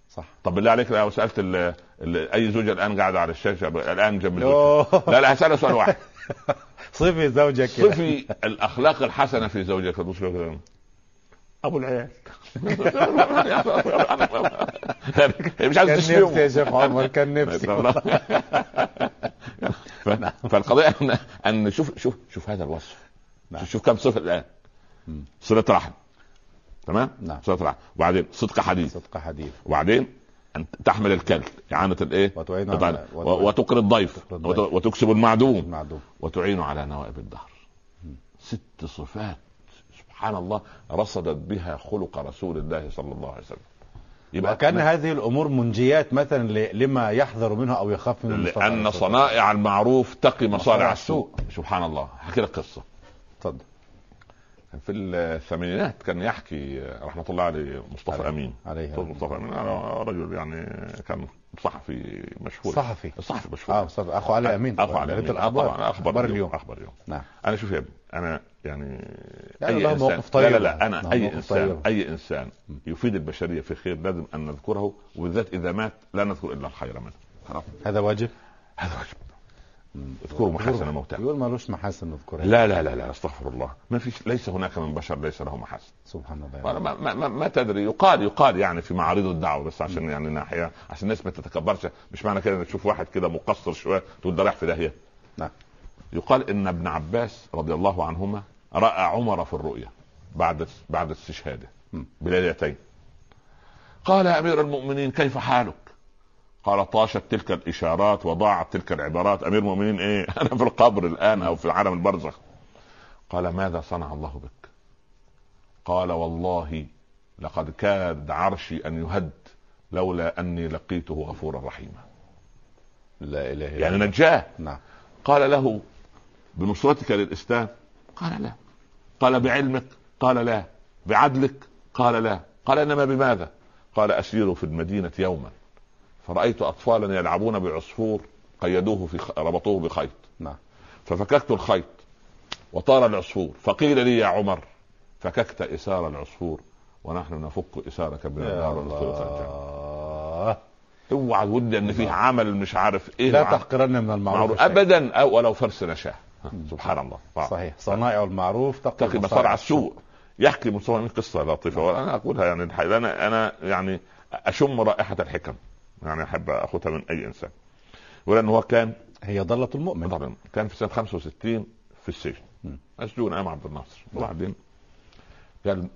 A: صح
B: طب بالله عليك لو سالت ال ال اي زوجه الان قاعده على الشاشه ب- الان جنب زوجها. لا لا هسالها سؤال واحد
A: صفي زوجك يعني. كده
B: صفي الاخلاق الحسنه في زوجك يا دكتور كده. ابو العيال يعني مش
A: كان
B: عايز
A: نفسي
B: تشتمه
A: يا شيخ عمر كان نفسي
B: ف- فالقضيه ان ان شوف شوف شوف هذا الوصف
A: نعم.
B: شوف, شوف كم صفه الان
A: مم.
B: صله رحم تمام
A: نعم.
B: صله رحم وبعدين صدق حديث
A: صدق حديث
B: وبعدين ان تحمل الكل اعانه الايه
A: وتعين على
B: وتعين- و- وتقري الضيف
A: وتقري
B: وت-
A: نعم. الضيف. نعم.
B: وتكسب المعدوم
A: المعدوم
B: وتعين على نوائب الدهر ست صفات سبحان الله رصدت بها خلق رسول الله صلى الله عليه وسلم
A: وكان
B: أنا-
A: هذه الأمور منجيات مثلا ل- لما يحذر منها أو يخاف منه المصطفى عليه
B: لأن
A: الصلاة
B: صنائع المعروف تقي مصارع
A: مصارع
B: السوء سبحان الله هحكي لك قصة
A: والسلام. اتفضل
B: كان في الثمانينات كان يحكي رحمة الله عليه مصطفى
A: عليه.
B: أمين
A: عليه
B: أستاذ مصطفى أمين أنا رجل يعني كان صحفي مشهور
A: صحفي
B: صحفي مشهور
A: اه صدق اخو علي امين
B: أخو علي
A: قريت
B: أمين.
A: الاخبار
B: طبعا
A: اخبار اليوم
B: أخبار اليوم
A: نعم
B: أنا شوف يا ابني أنا يعني
A: لا، لا،
B: إنسان
A: مواقف طيبة.
B: لا لا لا أنا
A: لا، طيب.
B: أي
A: مواقف
B: إنسان
A: طيبة.
B: أي إنسان يفيد البشرية في خير لازم أن نذكره وبالذات إذا مات لا نذكر إلا الخير منه خلاص
A: هذا واجب
B: هذا واجب اذكروا محاسن موتاكم
A: يقول مالوش محاسن نذكرها
B: لا لا لا لا استغفر الله ما فيش ليس هناك من بشر ليس له محاسن
A: سبحان الله
B: ما, ما, ما, ما تدري يقال يقال يعني في معارض الدعوه بس عشان يعني ناحيه عشان الناس ما تتكبرش مش معنى كده انك تشوف واحد كده مقصر شويه تقول ده رايح في داهيه
A: نعم.
B: يقال ان ابن عباس رضي الله عنهما راى عمر في الرؤيا بعد بعد استشهاده
A: مم.
B: بليلتين قال يا امير المؤمنين كيف حالك؟ قال طاشت تلك الاشارات وضاعت تلك العبارات امير المؤمنين ايه؟ انا في القبر الان او في عالم البرزخ قال ماذا صنع الله بك؟ قال والله لقد كاد عرشي ان يهد لولا اني لقيته غفورا رحيما
A: لا اله الا
B: يعني
A: الله
B: نجاه
A: نعم
B: قال له بنصرتك للاسلام قال لا قال بعلمك قال لا بعدلك قال لا قال انما بماذا قال اسير في المدينه يوما فرايت اطفالا يلعبون بعصفور قيدوه في خ... ربطوه بخيط
A: نعم
B: ففككت الخيط وطار العصفور فقيل لي يا عمر فككت اسار العصفور ونحن نفك اسارك من
A: يا
B: النار وندخلك الجنه
A: الله
B: اوعى ودي ان فيه عمل مش عارف ايه
A: نعم. لا
B: وعمل-
A: تحقرن من المعروف
B: معروف
A: شيئا.
B: ابدا أو ولو فرس نشاه سبحان الله آه.
A: صحيح صنائع المعروف
B: تقي مصارع السوء يحكي مصطفى من قصه لطيفه وانا اقولها يعني الحقيقة. انا انا يعني اشم رائحه الحكم يعني احب اخذها من اي انسان ولان هو كان
A: هي ضلة المؤمن
B: طبعا كان في سنه 65 في السجن
A: مم.
B: مسجون امام عبد الناصر
A: نعم.
B: وبعدين قال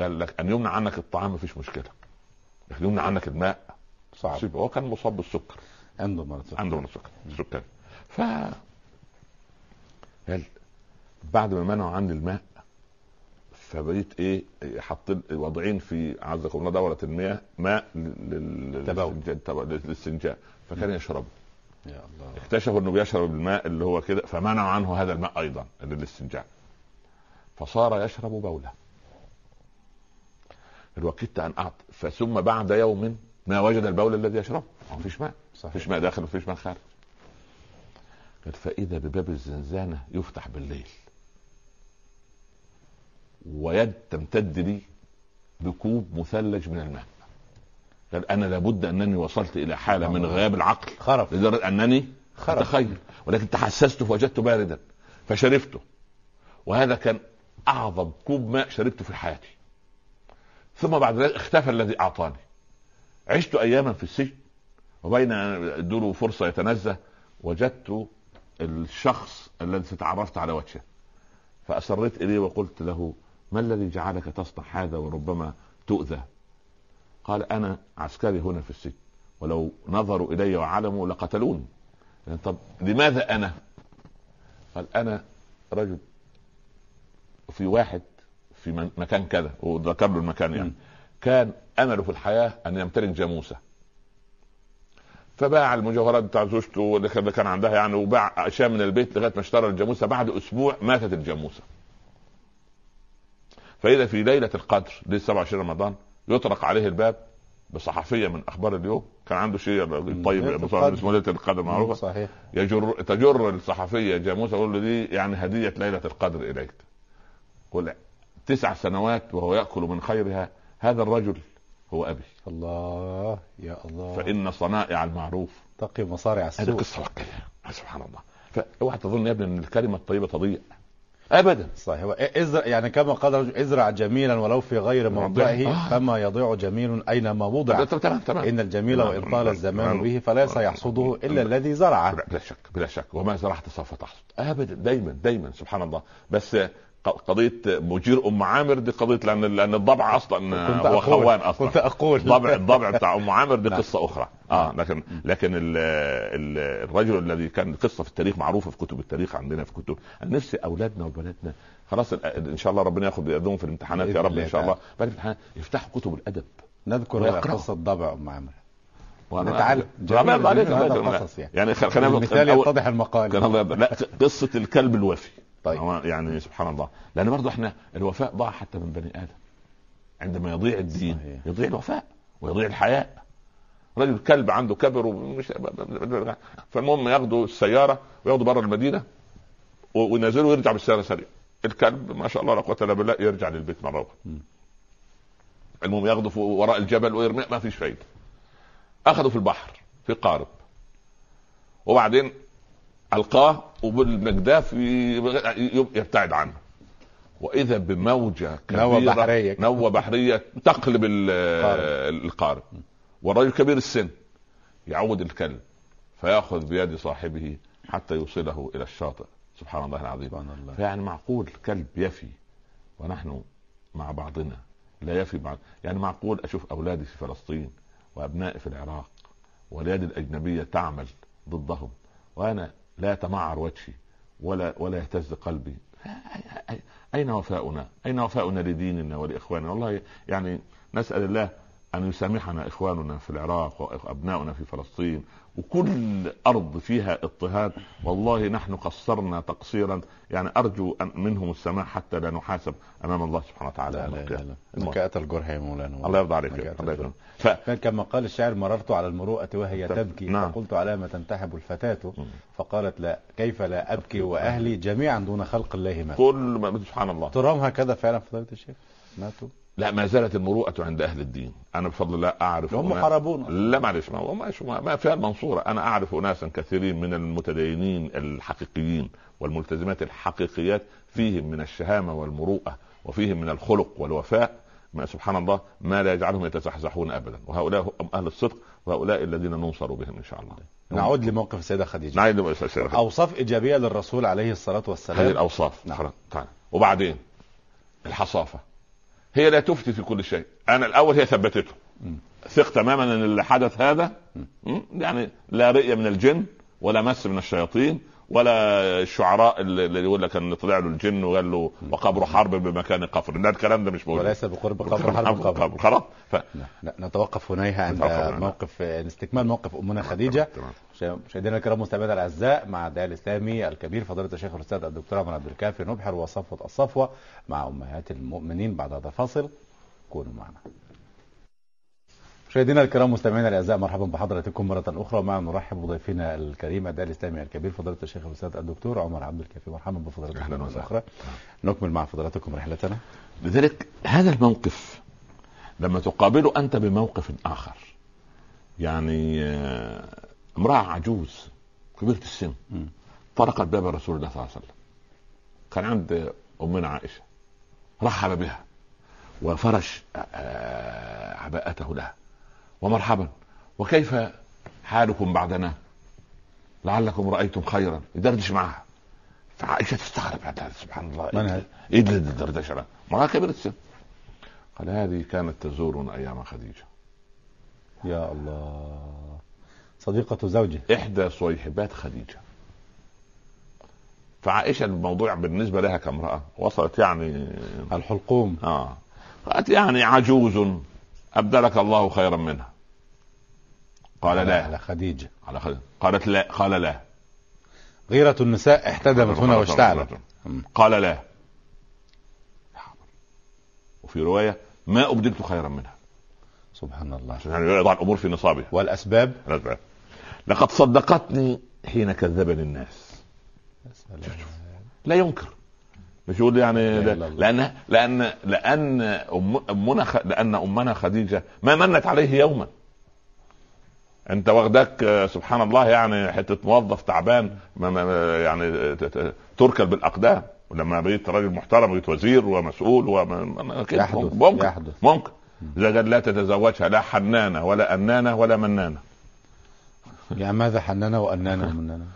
B: قال لك ان يمنع عنك الطعام مفيش مشكله لكن يمنع عنك الماء
A: صعب
B: سيبه. هو كان مصاب بالسكر
A: عنده مرض سكر.
B: عنده مرض السكر السكري ف قال بعد ما منعوا عني الماء فبقيت ايه حاطين واضعين في اعزكم الله دوره المياه ماء لل-
A: التبول.
B: للتبول- للاستنجاء فكان يشربه
A: يا الله
B: اكتشفوا انه بيشرب الماء اللي هو كده فمنعوا عنه هذا الماء ايضا اللي للاستنجاء فصار يشرب بوله الوقت ان اعطى فثم بعد يوم ما وجد البول الذي يشربه ما فيش ماء
A: صحيح
B: مفيش ماء داخل مفيش ماء خارج قال فإذا بباب الزنزانة يفتح بالليل ويد تمتد لي بكوب مثلج من الماء قال أنا لابد أنني وصلت إلى حالة من غياب العقل
A: خرف
B: لدرجة أنني
A: خرف
B: أتخيل ولكن تحسست فوجدته باردا فشربته وهذا كان أعظم كوب ماء شربته في حياتي ثم بعد ذلك اختفى الذي أعطاني عشت أياما في السجن وبين أن أدوله فرصة يتنزه وجدت الشخص الذي تعرفت على وجهه فأسرت إليه وقلت له ما الذي جعلك تصنع هذا وربما تؤذى قال أنا عسكري هنا في السجن ولو نظروا إلي وعلموا لقتلوني يعني طب لماذا أنا قال أنا رجل في واحد في من- مكان كذا وذكر له المكان يعني
A: مم.
B: كان أمله في الحياة أن يمتلك جاموسة فباع المجوهرات بتاع زوجته واللي كان- اللي كان عندها يعني وباع اشياء من البيت لغايه ما اشترى الجاموسه بعد اسبوع ماتت الجاموسه. فاذا في ليله القدر ليله 27 رمضان يطرق عليه الباب بصحفيه من اخبار اليوم كان عنده شيء طيب
A: ليلة
B: أبو
A: القدر.
B: صالح اسمه ليله القدر معروفه
A: صحيح
B: يجر تجر الصحفيه جاموسه تقول له دي يعني هديه ليله القدر اليك. قل تسع سنوات وهو ياكل من خيرها هذا الرجل هو ابي
A: الله يا الله
B: فان صنائع المعروف
A: تقي مصارع
B: هذه
A: السوء
B: قصه وكلها سبحان الله فاوعى تظن يا ابني ان الكلمه الطيبه تضيع ابدا
A: صحيح و- ازرع يعني كما قال الرجل، ازرع جميلا ولو في غير
B: ربنا-
A: موضعه
B: آه.
A: فما يضيع جميل اينما وضع
B: طب تمام تمام
A: ان الجميل
B: نعم،
A: وان
B: نعم،
A: طال الزمان
B: نعم.
A: به فليس يحصده الا الذي زرعه
B: لا بلا شك بلا شك وما زرعت سوف تحصد ابدا دايما دايما سبحان الله بس ق- قضيه مجير ام عامر دي قضيه لان لان الضبع اصلا
A: كنت
B: نعم. هو
A: أقول-
B: خوان اصلا
A: كنت اقول
B: الضبع الضبع بتاع ام عامر دي
A: نعم.
B: قصه اخرى اه لكن لكن ال ال الرجل الذي كان قصه في التاريخ معروفه في كتب التاريخ عندنا في كتب نفس اولادنا وبناتنا خلاص ال- ان شاء الله ربنا ياخد بيدهم في الامتحانات
A: بإذن
B: يا رب
A: الله
B: ان شاء الله
A: تعالى.
B: بعد الامتحان يفتحوا كتب الادب
A: نذكر
B: ويقرأ.
A: قصه ضبع ام عمرو
B: وأنا-
A: تعال-
B: لا، ما يرضى عليك
A: جميل هذا
B: الله يرضى
A: قصص يعني.
B: عليك. يعني خ- خلينا
A: بالمثال
B: أول-
A: يتضح
B: كان
A: المقال
B: الله يرضى- لا ق- قصه الكلب الوفي
A: طيب.
B: هو يعني سبحان الله لان برضه احنا الوفاء ضاع حتى من بني ادم عندما يضيع الدين
A: صحيح.
B: يضيع الوفاء ويضيع الحياء رجل كلب عنده كبر ومش فالمهم ياخدوا السياره وياخدوا بره المدينه و- وينزلوا ويرجع بالسياره سريع الكلب ما شاء الله لا قوه الا بالله يرجع للبيت مره
A: مم.
B: واحده المهم ياخده فوق- وراء الجبل ويرميه ما فيش فايده اخذه في البحر في قارب وبعدين القاه وبالمجداف ي- ي- يبتعد عنه واذا بموجه كبيره
A: نوى بحرية.
B: نوى بحريه تقلب ال- القارب والرجل كبير السن يعود الكلب فياخذ بيد صاحبه حتى يوصله الى الشاطئ سبحان الله العظيم
A: سبحان الله
B: فيعني معقول كلب يفي ونحن مع بعضنا لا يفي بعض يعني معقول اشوف اولادي في فلسطين وابنائي في العراق واليد الاجنبيه تعمل ضدهم وانا لا يتمعر وجهي ولا ولا يهتز قلبي أي- أي- اين وفاؤنا؟ اين وفاؤنا لديننا ولاخواننا؟ والله يعني نسال الله ان يسامحنا اخواننا في العراق وابناؤنا في فلسطين وكل ارض فيها اضطهاد والله نحن قصرنا تقصيرا يعني ارجو أن منهم السماح حتى لا نحاسب امام الله سبحانه وتعالى
A: لا
B: يوم
A: لا
B: القيامة.
A: لا
B: المهم.
A: لك أتى الجرح يا مولانا
B: الله يرضى عليك
A: لك
B: يا
A: أتى
B: الله
A: الجرح.
B: يرضى عليك. ف...
A: كان كما قال الشاعر مررت على المروءة وهي
B: طب،
A: تبكي
B: نعم.
A: فقلت على ما تنتحب الفتاة
B: مم.
A: فقالت لا كيف لا أبكي وأهلي جميعا دون خلق الله مات
B: كل ما سبحان الله
A: ترام هكذا فعلا فضيلة الشيخ ماتوا
B: لا ما زالت المروءة عند أهل الدين أنا بفضل الله أعرف
A: هم
B: أناس-
A: حاربونا
B: لا معلش ما هو ماشي، ما ما فيها المنصورة أنا أعرف أناسا كثيرين من المتدينين الحقيقيين والملتزمات الحقيقيات فيهم من الشهامة والمروءة وفيهم من الخلق والوفاء ما سبحان الله ما لا يجعلهم يتزحزحون ابدا وهؤلاء هم اهل الصدق وهؤلاء الذين ننصر بهم ان شاء الله
A: نعود لموقف السيدة خديجة
B: نعيد السيرة.
A: أوصاف إيجابية للرسول عليه الصلاة
B: هذه
A: والسلام
B: الاوصاف
A: نعم.
B: نعم. تعال وبعدين الحصافه هي لا تفتي في كل شيء انا الاول هي ثبتته
A: مم.
B: ثق تماما ان اللي حدث هذا مم، يعني لا رئيه من الجن ولا مس من الشياطين ولا الشعراء اللي اللي يقول لك ان طلع له الجن وقال له وقبر حرب بمكان قفر لا الكلام ده مش موجود
A: وليس بقرب قبر حرب قبر نعم.
B: خلاص ف...
A: ن- نتوقف هنيها عند
B: نعم. نتوقف هنا.
A: موقف استكمال موقف امنا خديجه
B: تمام.
A: مشاهدينا الكرام مستمعينا الاعزاء مع الداعي الاسلامي الكبير فضيله الشيخ الاستاذ الدكتور عمر عبد الكافي نبحر وصفوه الصفوه مع امهات المؤمنين بعد هذا الفاصل كونوا معنا. مشاهدينا الكرام مستمعينا الاعزاء مرحبا بحضراتكم مره اخرى ومع نرحب بضيفنا الكريم الداعي الاسلامي الكبير فضيله الشيخ الاستاذ الدكتور عمر عبد الكافي مرحبا بفضيلتكم
B: أهلا
A: مره
B: وسهلا.
A: اخرى. نكمل مع فضيلتكم رحلتنا.
B: لذلك هذا الموقف لما تقابله انت بموقف اخر يعني آه، امراه عجوز كبيره السن
A: مم.
B: طرقت باب رسول الله صلى الله عليه وسلم كان عند امنا عائشه رحب بها وفرش آه، عباءته لها ومرحبا وكيف حالكم بعدنا لعلكم رايتم خيرا يدردش معها فعائشه تستغرب هذا سبحان الله
A: من هذا؟
B: ايه ده الدردشه ده؟ امراه كبيره السن قال هذه كانت تزورنا ايام خديجه
A: يا الله صديقه زوجه
B: احدى صيحبات خديجه فعائشه الموضوع بالنسبه لها كامراه وصلت يعني
A: الحلقوم
B: اه قالت يعني عجوز ابدلك الله خيرا منها قال لا
A: على خديجه
B: على خير. قالت لا قال لا
A: غيرة النساء احتدمت هنا واشتعلت مم.
B: قال لا وفي روايه ما ابدلت خيرا منها
A: سبحان الله
B: عشان يعني يضع الامور في نصابها
A: والأسباب
B: لقد صدقتني حين كذبني الناس لا ينكر مش يقول يعني
A: لا
B: لا
A: لا لا.
B: لان لان لان أم امنا خ- لان امنا خديجه ما منت عليه يوما انت واخدك آه، سبحان الله يعني حته موظف تعبان ما ما يعني آه، ت- ت- تركل بالاقدام ولما بقيت راجل محترم بقيت وزير ومسؤول وما كده
A: يحدث
B: ممكن
A: يحدث
B: ممكن اذا قال لا تتزوجها لا حنانه ولا انانه ولا منانه
A: يا يعني ماذا حننا وأننا ومننا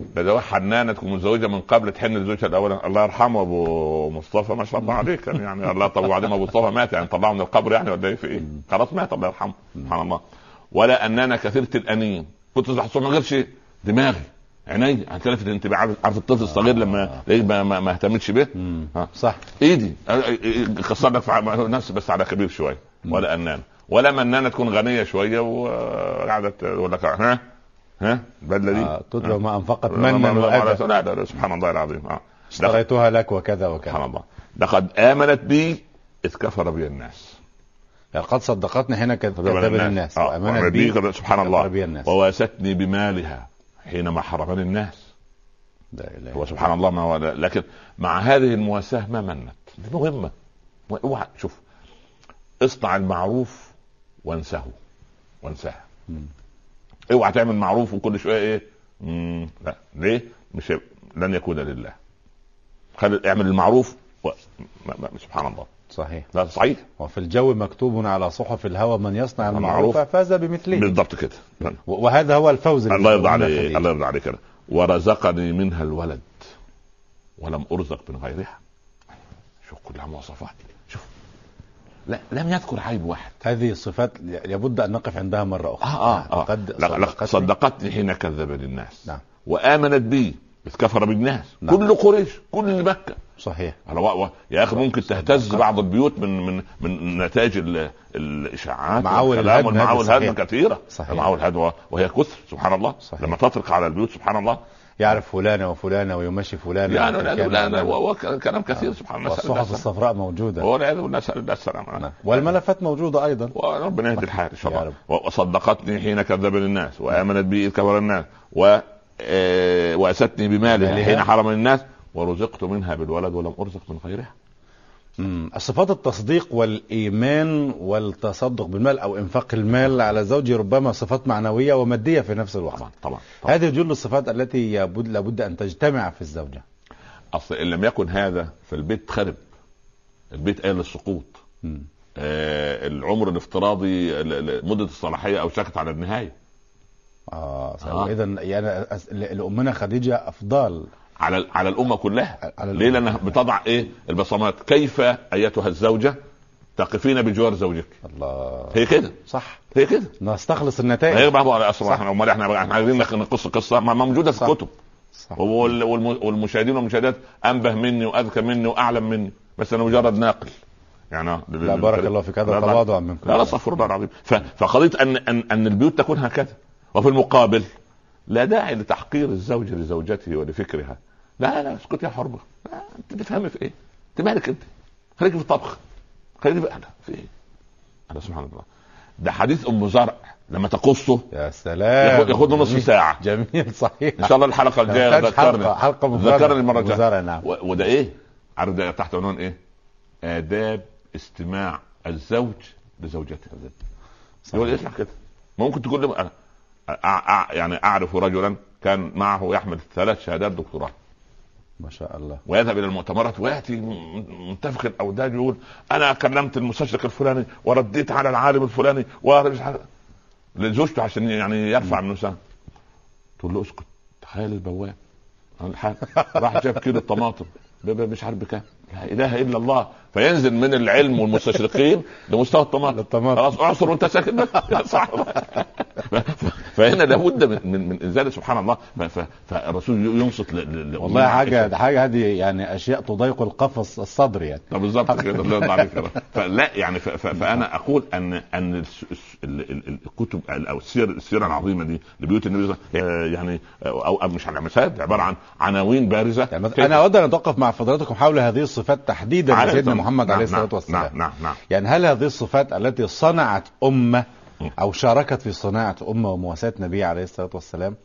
B: بدوها حنانه تكون متزوجه من قبل تحن لزوجها الاولا الله يرحمه ابو مصطفى ما شاء الله عليك كان يعني الله طب وبعدين ابو مصطفى مات يعني طلعه من القبر يعني ولا ايه في ايه؟ خلاص مات الله يرحمه سبحان الله ولا اننا كثيره الانين كنت تصحى الصبح من غير شيء دماغي عيني هتلفت الانتباه عارف عارف الطفل الصغير لما تلاقيه ما, ما, ما اهتمتش به
A: مم.
B: ها.
A: صح
B: ايدي خسر لك في عم- نفس بس على كبير شويه ولا انان ولا منانه تكون غنيه شويه وقاعده تقول لك ها ها البدله دي
A: آه، تتبع ما أنفقت منا
B: منا
A: وأذى
B: لا لا لا سبحان الله العظيم اه لقد-
A: اشتريتها لك وكذا
B: سبحان
A: وكذا
B: الله لقد امنت بي اذ كفر بي الناس
A: لقد صدقتني حين كذ- كذبني الناس
B: آه. وأمنت
A: وأمنت بي
B: بي سبحان
A: كفر
B: الله
A: بي الناس
B: وواستني بمالها حينما حرمني الناس
A: لا إله
B: هو
A: إلا
B: سبحان الله ما هو لكن مع هذه المواساة ما منت دي مهمة اوعى شوف اصنع المعروف وانسه وانساها
A: مم.
B: اوعى تعمل معروف وكل شوية ايه مم. لا ليه مش هيب- لن يكون لله خلي اعمل المعروف و... ما... ما... سبحان الله
A: صحيح
B: لا صحيح
A: وفي الجو مكتوب على صحف الهوى من
B: آه،
A: يصنع المعروف
B: المعروف.
A: فاز بمثله
B: بالضبط كده
A: و- وهذا هو الفوز
B: الله
A: للمؤمنة
B: يرضى عليك
A: خديجة.
B: الله يرضى عليك أنا. ورزقني منها الولد ولم ارزق من غيرها شوف كلها مواصفات شوف لا لم يذكر عيب واحد
A: هذه الصفات لابد أن نقف عندها مرة أخرى
B: اه اه, آه.
A: لقد
B: لقد
A: صدقتني
B: صدقتني, صدقتني حين كذبني الناس
A: نعم.
B: وامنت بي اذ كفر بالناس
A: نعم.
B: كل قريش كل مكه
A: صحيح
B: على و... و... يا اخي ممكن تهتز بعض البيوت من من من نتائج ال... الاشاعات
A: معاول
B: والكلام
A: الهدم هذه
B: والمعاول
A: صحيح.
B: هدم كثيره
A: صحيح.
B: معاول هدم وهي كثر سبحان الله
A: صحيح.
B: لما تطرق على البيوت سبحان الله
A: يعرف فلانة وفلانة ويمشي فلانة
B: يعني لا
A: وكان-
B: لا لا هو- هو كلام كثير سبحان الله نسأل الله
A: والصحف
B: السلامة.
A: الصفراء موجودة
B: هو نعوذ بالله، نسأل الله السلامة
A: نعم. والملفات موجودة أيضا
B: وربنا يهدي الحال ان شاء
A: يا
B: الله وصدقتني حين كذبني الناس وامنت بي اذ كفر الناس و آه، واستني بمالها
A: مالها.
B: حين حرمني الناس ورزقت منها بالولد ولم ارزق من غيرها
A: مم. صفات التصديق والإيمان والتصدق بالمال أو إنفاق المال على زوجي ربما صفات معنوية ومادية في نفس الوقت
B: طبعا طبعا, طبعا.
A: هذه جل الصفات التي يبد لابد أن تجتمع في الزوجة
B: اصل ان لم يكن هذا فالبيت خرب البيت قال للسقوط
A: مم.
B: آه، العمر الافتراضي ل- ل- مده الصلاحيه اوشكت على النهايه
A: اه,
B: آه.
A: اذا يعني أس- ل- لامنا خديجه افضل
B: على على الامه كلها
A: على
B: ليه لانها بتضع ايه البصمات كيف ايتها الزوجه تقفين بجوار زوجك
A: الله
B: هي كده
A: صح
B: هي كده
A: نستخلص
B: هي
A: النتائج
B: بقى على اصل
A: إيه. صح.
B: احنا امال احنا احنا عايزين نخ- نقص قصه ما ما موجوده في
A: صح.
B: الكتب
A: صح.
B: وال- والم- والمشاهدين والمشاهدات انبه مني واذكى مني واعلم مني بس انا مجرد ناقل يعني
A: لا بارك الله فيك هذا
B: لا، لا.
A: تواضع منكم
B: لا لا استغفر الله العظيم ف- فقضيه ان ان ان البيوت تكون هكذا وفي المقابل لا داعي لتحقير الزوج لزوجته ولفكرها لا لا اسكت يا حرمه لا، انت بتفهمي في ايه؟ انت مالك انت؟ خليك في الطبخ خليك في أنا في ايه؟ انا سبحان الله ده حديث ام زرع لما تقصه
A: يا
B: ياخد-
A: سلام
B: ياخد نص
A: جميل.
B: ساعه
A: جميل صحيح
B: ان شاء الله الحلقه الجايه
A: محتاج
B: ذكرنا
A: حلقه حلقه مفردة.
B: ذكرني المره الجايه
A: مزارع، نعم
B: و- وده ايه؟ عارف ده تحت عنوان ايه؟ آداب استماع الزوج لزوجته يقول
A: صحيح.
B: ايش كده؟ ممكن تكون لم... أنا أع... أع- يعني اعرف رجلا كان معه يحمل ثلاث شهادات دكتوراه
A: ما شاء الله
B: ويذهب الى المؤتمرات وياتي م- منتفخ الاوداد يقول انا كلمت المستشرق الفلاني ورديت على العالم الفلاني ومش عارف لزوجته عشان يعني يرفع من وسام تقول له اسكت تخيل البواب قال الحاج راح جاب كيلو طماطم ب- ب- مش عارف بكام لا اله الا الله فينزل من العلم والمستشرقين لمستوى الطماطم
A: للطماطم.
B: خلاص اعصر وانت ساكت بقى. صح فهنا لابد من من, من انزال سبحان الله ف- ف- فالرسول ينصت ل- ل- ل-
A: والله حاجه ده حاجه هذه يعني اشياء تضيق القفص الصدر يعني
B: طب بالظبط كده الله يرضى عليك يا رب. فلا يعني ف- ف- فانا اقول ان ان الس- الس- ال- ال- الكتب او السير السيره العظيمه دي لبيوت النبي صلى الله عليه وسلم، آه، يعني او أو مش على مسائل عباره عن عناوين بارزه
A: يعني مث- انا اود ان اتوقف مع حضراتكم حول هذه الصفات تحديدا
B: عارف
A: لسيدنا
B: طبعا.
A: محمد
B: نعم،
A: عليه الصلاه
B: نعم،
A: والسلام
B: نعم نعم نعم
A: يعني هل هذه الصفات التي صنعت أمة
B: م.
A: أو شاركت في صناعة أمة ومواساة نبي عليه الصلاة والسلام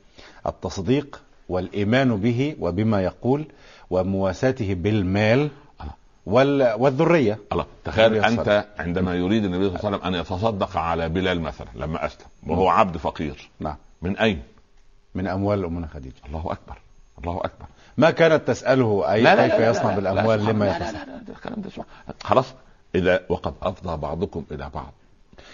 A: التصديق والإيمان به وبما يقول ومواساته بالمال
B: آه.
A: وال... والذرية
B: الله تخيل
A: النبي صلى الله
B: انت عندما يريد النبي صلى الله عليه وسلم ان يتصدق على بلال مثلا لما اسلم وهو عبد فقير
A: نعم
B: من اين؟
A: من أموال أمنا خديجة
B: الله اكبر الله اكبر
A: ما كانت تسأله أي كيف يصنع بالأموال
B: لا
A: لما
B: لا لا
A: يتصدق
B: لا ده الكلام ده سبحان- خلاص اذا وقد افضى بعضكم الى بعض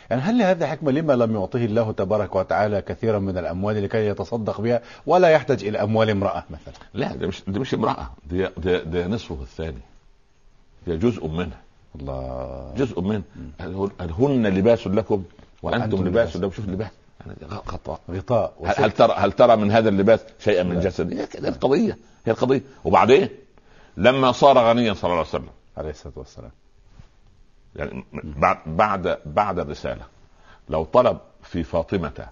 A: يعني هل لهذا حكمة لما لم يعطيه الله تبارك وتعالى كثيرا من الأموال لكي يتصدق بها ولا يحتاج إلى أموال امرأة مثلا
B: لا ده مش ده مش امرأة ده ده, ده نصفه الثاني ده جزء منها
A: الله
B: جزء منها هل هل هن لباس لكم وانتم
A: وأنتم
B: لباس
A: لباس.
B: لكم شوف اللباس يعني غ- خطأ
A: غطاء
B: هل,
A: وستر.
B: هل ترى هل ترى من هذا اللباس شيئا من
A: لا.
B: جسد هي كده القضية هي القضية وبعدين لما صار غنيا صلى الله عليه وسلم
A: عليه الصلاة والسلام
B: يعني بعد بعد بعد الرسالة لو طلب في فاطمة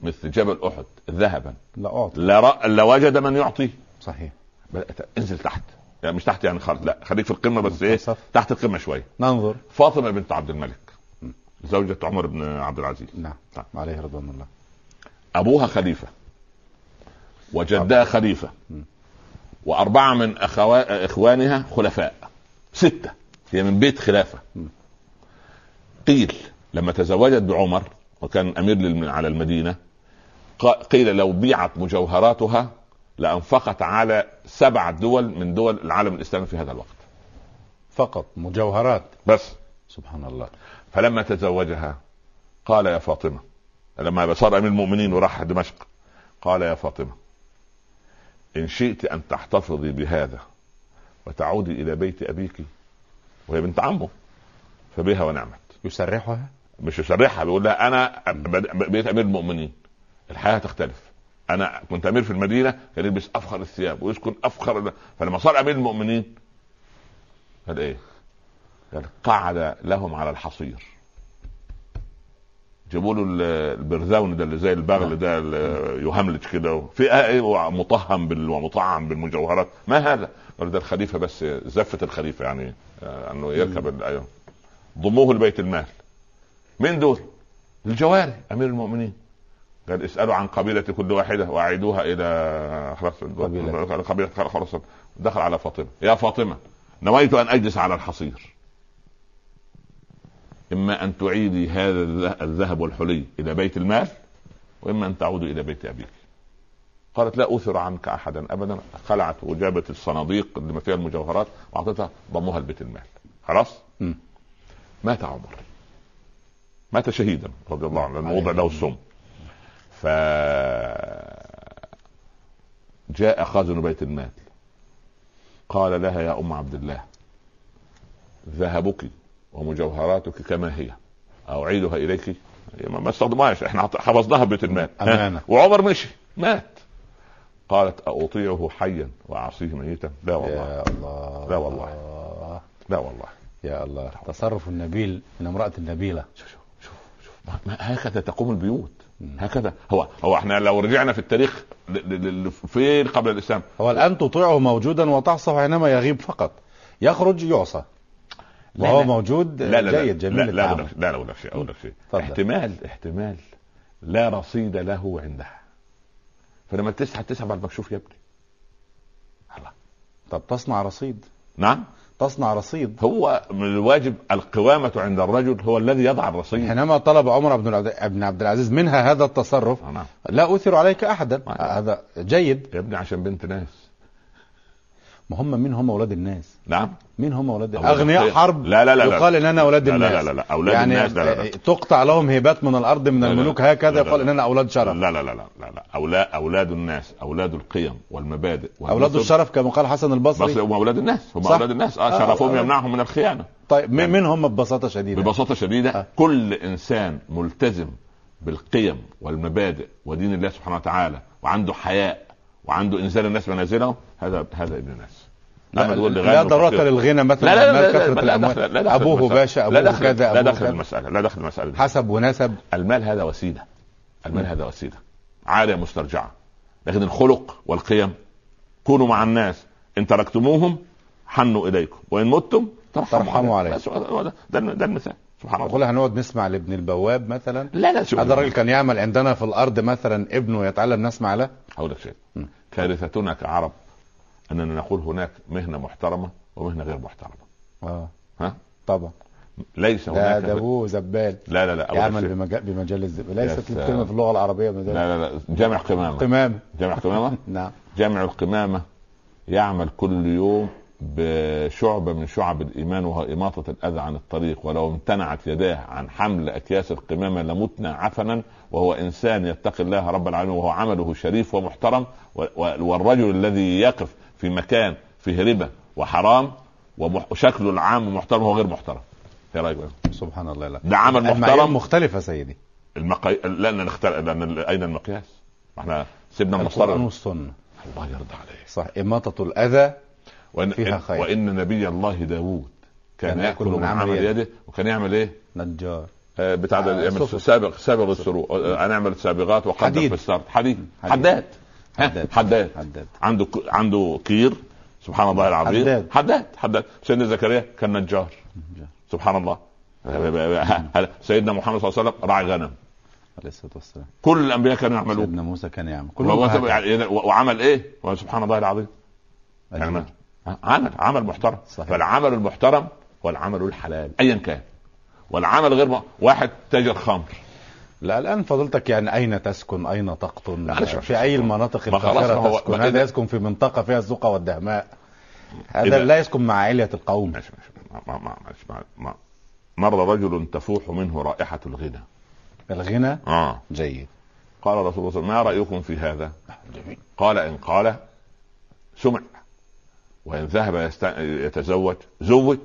B: مثل جبل أحد ذهبا
A: لا أعطي
B: لرأ- لوجد من يعطيه
A: صحيح
B: بدأت انزل تحت يعني مش تحت يعني خالص لا خليك في القمه بس ايه
A: صف.
B: تحت القمه شويه
A: ننظر
B: فاطمه بنت عبد الملك زوجة عمر بن عبد العزيز
A: نعم
B: طيب.
A: عليه رضوان الله
B: ابوها خليفه وجدها خليفه
A: مم.
B: واربعه من أخوا... اخوانها خلفاء سته هي من بيت خلافه
A: مم.
B: قيل لما تزوجت بعمر وكان امير للم... على المدينه ق- قيل لو بيعت مجوهراتها لانفقت على سبع دول من دول العالم الاسلامي في هذا الوقت
A: فقط مجوهرات
B: بس
A: سبحان الله
B: فلما تزوجها قال يا فاطمة لما صار أمير المؤمنين وراح دمشق قال يا فاطمة إن شئت أن تحتفظي بهذا وتعودي إلى بيت أبيك وهي بنت عمه فبها ونعمت
A: يسرحها
B: مش يشرحها بيقول لها أنا ب- بقيت أمير المؤمنين الحياة تختلف أنا كنت أمير في المدينة كان يلبس أفخر الثياب ويسكن أفخر فلما صار أمير المؤمنين قال إيه؟ قال قعد لهم على الحصير جابوا له ال- البرزاون ده اللي زي البغل ده ال- يهملج كده في ايه ومطهم بال... ومطعم بالمجوهرات ما هذا؟ قال ده الخليفه بس زفه الخليفه يعني آه، انه يركب ال- أيوه. ضموه لبيت المال مين دول؟ الجواري امير المؤمنين قال اسالوا عن قبيله كل واحده واعيدوها الى خلاص
A: قبيلة.
B: قبيله خلاص دخل على فاطمه يا فاطمه نويت ان اجلس على الحصير اما ان تعيدي هذا الذ- الذهب والحلي الى بيت المال واما ان تعودي الى بيت ابيك قالت لا اثر عنك احدا ابدا خلعت وجابت الصناديق اللي ما فيها المجوهرات واعطتها ضموها لبيت المال خلاص
A: مم.
B: مات عمر مات شهيدا رضي الله عنه لانه وضع له السم ف جاء خازن بيت المال قال لها يا ام عبد الله ذهبك ومجوهراتك كما هي اعيدها اليك ما ما استخدمهاش احنا حفظناها بيت المال
A: أمانة.
B: وعمر مشي مات قالت أطيعه حيا وأعصيه ميتا لا والله
A: يا الله
B: لا والله. لا والله
A: يا الله تصرف النبيل من امرأة النبيلة
B: شوف شوف شوف شوف ما- ما هكذا تقوم البيوت
A: مم.
B: هكذا هو هو احنا لو رجعنا في التاريخ ل- ل- ل- فين قبل الاسلام
A: هو الآن تطيعه موجودا وتعصف حينما يغيب فقط يخرج يعصى
B: لا،
A: وهو
B: لا.
A: موجود
B: لا لا لا
A: جيد جميل
B: لا لا
A: التعامل.
B: أقول لك- لا لا اقول لك شيء اقول لك شيء
A: اتفضل.
B: احتمال احتمال لا رصيد له عندها فلما تسحب تسحب على المكشوف يا ابني الله
A: طب تصنع رصيد
B: نعم
A: تصنع رصيد
B: هو من الواجب القوامة عند الرجل هو الذي يضع الرصيد
A: حينما طلب عمر بن العبد- بن عبد العزيز منها هذا التصرف
B: نعم
A: لا أثر عليك أحدا
B: نعم.
A: هذا جيد
B: يا ابني عشان بنت ناس
A: ما هم مين هم أولاد الناس
B: نعم
A: مين هم أولاد
B: أولاد
A: أغنياء
B: الخير.
A: حرب
B: لا لا لا لا.
A: يقال إن أنا أولاد
B: لا لا
A: الناس
B: لا لا, لا. اولاد
A: يعني
B: الناس لا لا لا.
A: تقطع لهم هيبات من الأرض من
B: لا لا.
A: الملوك
B: لا
A: هكذا
B: لا
A: يقال
B: لا.
A: إن أنا أولاد شرف
B: لا لا لا لا لا لا أولا أولاد الناس أولاد القيم والمبادئ
A: أولاد
B: والنسب.
A: الشرف كما قال حسن
B: بس
A: البصري
B: هم أولاد الناس هم
A: صح.
B: أولاد الناس
A: آه،
B: آه شرفهم
A: أولاد.
B: يمنعهم من الخيانة
A: طيب
B: نعم.
A: مين مين هم ببساطة شديدة
B: ببساطة شديدة
A: آه.
B: كل إنسان ملتزم بالقيم والمبادئ ودين الله سبحانه وتعالى وعنده حياء وعنده إنزال الناس منازلهم هذا هذا ابن الناس أما تقول لي غني
A: لا ضرورة
B: وفقير.
A: للغنى مثلا
B: لا لا
A: عمال
B: لا لا
A: كثرة
B: لا
A: الأموال
B: دخل- لا دخل
A: أبوه
B: المسألة.
A: باشا
B: لا
A: أبوه
B: دخل
A: كذا
B: لا
A: أبوه
B: دخل
A: كذا
B: المسألة لا دخل المسألة دي.
A: حسب ونسب
B: المال هذا وسيله المال هذا وسيله عاليه مسترجعه لكن الخلق والقيم كونوا مع الناس ان تركتموهم حنوا اليكم وان متم
A: ترحموا عليهم.
B: بس هو ده- ده ده المثال سبحان الله
A: نقول هنقعد نسمع لابن البواب مثلا
B: لا لا شوف
A: هذا الراجل كان يعمل عندنا في الأرض مثلا ابنه يتعلم نسمع له
B: هقول لك شيء
A: مم.
B: كارثتنا كعرب اننا نقول هناك مهنه محترمه ومهنه غير محترمه
A: آه
B: ها
A: طبعا
B: ليس
A: ده
B: هناك
A: ده أبوه زبال
B: لا لا لا أقول لك
A: يعمل
B: شيء.
A: بمجال بمجال الزب...
B: يا
A: ليست
B: سلام.
A: الكلمة في اللغة العربية مجال
B: لا لا لا جامع قمامه
A: قمامة
B: جامع قمامه
A: نعم
B: جامع القمامة يعمل كل يوم بشعبة من شعب الإيمان وهو إماطة الأذى عن الطريق ولو امتنعت يداه عن حمل أكياس القمامة لمتنا عفنا وهو إنسان يتقي الله رب العالمين وهو عمله شريف ومحترم و- و- والرجل الذي يقف في مكان فيه ربا وحرام ومح- وشكله العام محترم وهو غير محترم إيه يا راجل
A: سبحان الله لا
B: ده عمل
A: المعايير
B: محترم
A: مختلفة سيدي
B: المقاي... لأن نختار لأن ال- أين المقياس؟ ما احنا سيبنا مصدر
A: القرآن
B: الله
A: والسنة
B: يرضى عليه
A: صح إماطة الأذى
B: وان
A: فيها خير.
B: وان نبي الله داوود كان,
A: كان
B: ياكل من عمل يده وكان يعمل ايه؟
A: نجار
B: آه بتاع ده
A: آه،
B: يعمل
A: صفر.
B: سابق سابق السرور آه انا اعمل سابغات وقدر
A: حديد.
B: في السرد حديد
A: حديد.
B: حداد ها،
A: حداد.
B: حداد
A: حداد.
B: عنده ك- عنده كير سبحان الله العظيم
A: حداد.
B: حداد حداد سيدنا زكريا كان نجار
A: نجار.
B: سبحان الله سيدنا محمد صلى الله عليه وسلم راعي غنم
A: عليه الصلاة والسلام
B: كل الانبياء كانوا يعملوا
A: سيدنا موسى كان يعمل
B: وهو-
A: هكذا.
B: يعني- وعمل ايه؟ سبحان الله العظيم
A: أجمل.
B: يعني عمل عمل محترم
A: صحيح.
B: فالعمل المحترم هو العمل الحلال ايا كان والعمل غير م... واحد تاجر خمر
A: لا الان فضلتك يعني اين تسكن اين تقطن
B: لا، شوف-
A: في اي المناطق
B: ما خلاص
A: الفاخره
B: هو-
A: تسكن
B: ما
A: هذا
B: إذا-
A: يسكن في منطقه فيها الزقة والدهماء هذا
B: إذا-
A: لا يسكن مع عائله القوم
B: ماشي ماشي ما ما ما, ماشي ما, ما. مر رجل تفوح منه رائحة الغنى
A: الغنى
B: آه.
A: جيد
B: قال رسول الله صلى الله عليه وسلم ما رأيكم في هذا قال إن قال سمع وإن ذهب يست... يتزوج زوج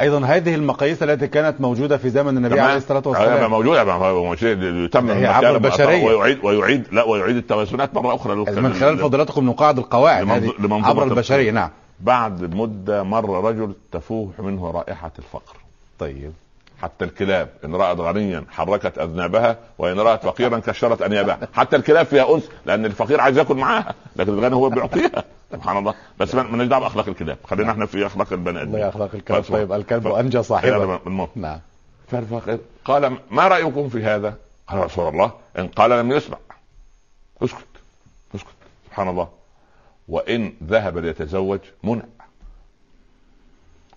A: ايضا هذه المقاييس التي كانت موجوده في زمن النبي
B: تمام؟
A: عليه الصلاه
B: آه،
A: والسلام
B: موجود موجود يتم
A: هي
B: المكارم
A: عبر البشرية.
B: ويعيد ويعيد لا ويعيد التوازنات مرة أخرى
A: من خلال فضيلتكم نقاعد القواعد
B: لمنظ-
A: هذه
B: لمنظومة
A: عبر
B: القيم.
A: البشريه نعم
B: بعد مدة مر رجل تفوح منه رائحة الفقر
A: طيب
B: حتى الكلاب إن رأت غنيا حركت أذنابها وإن رأت فقيرا كشرت أنيابها حتى الكلاب فيها أنس لأن الفقير عايز ياكل معاها لكن الغني هو بيعطيها سبحان الله بس ما- مالناش دعوه باخلاق الكلاب خلينا احنا في اخلاق
A: الله
B: البني ادمين
A: يخلق الكلب
B: فأسمع.
A: طيب الكلب
B: ف-
A: انجى صاحبه
B: إلى الموت.
A: نعم
B: فالفقير قال ما رايكم في هذا؟ قال يا رسول الله ان قال لم يسمع اسكت اسكت سبحان الله وان ذهب ليتزوج منع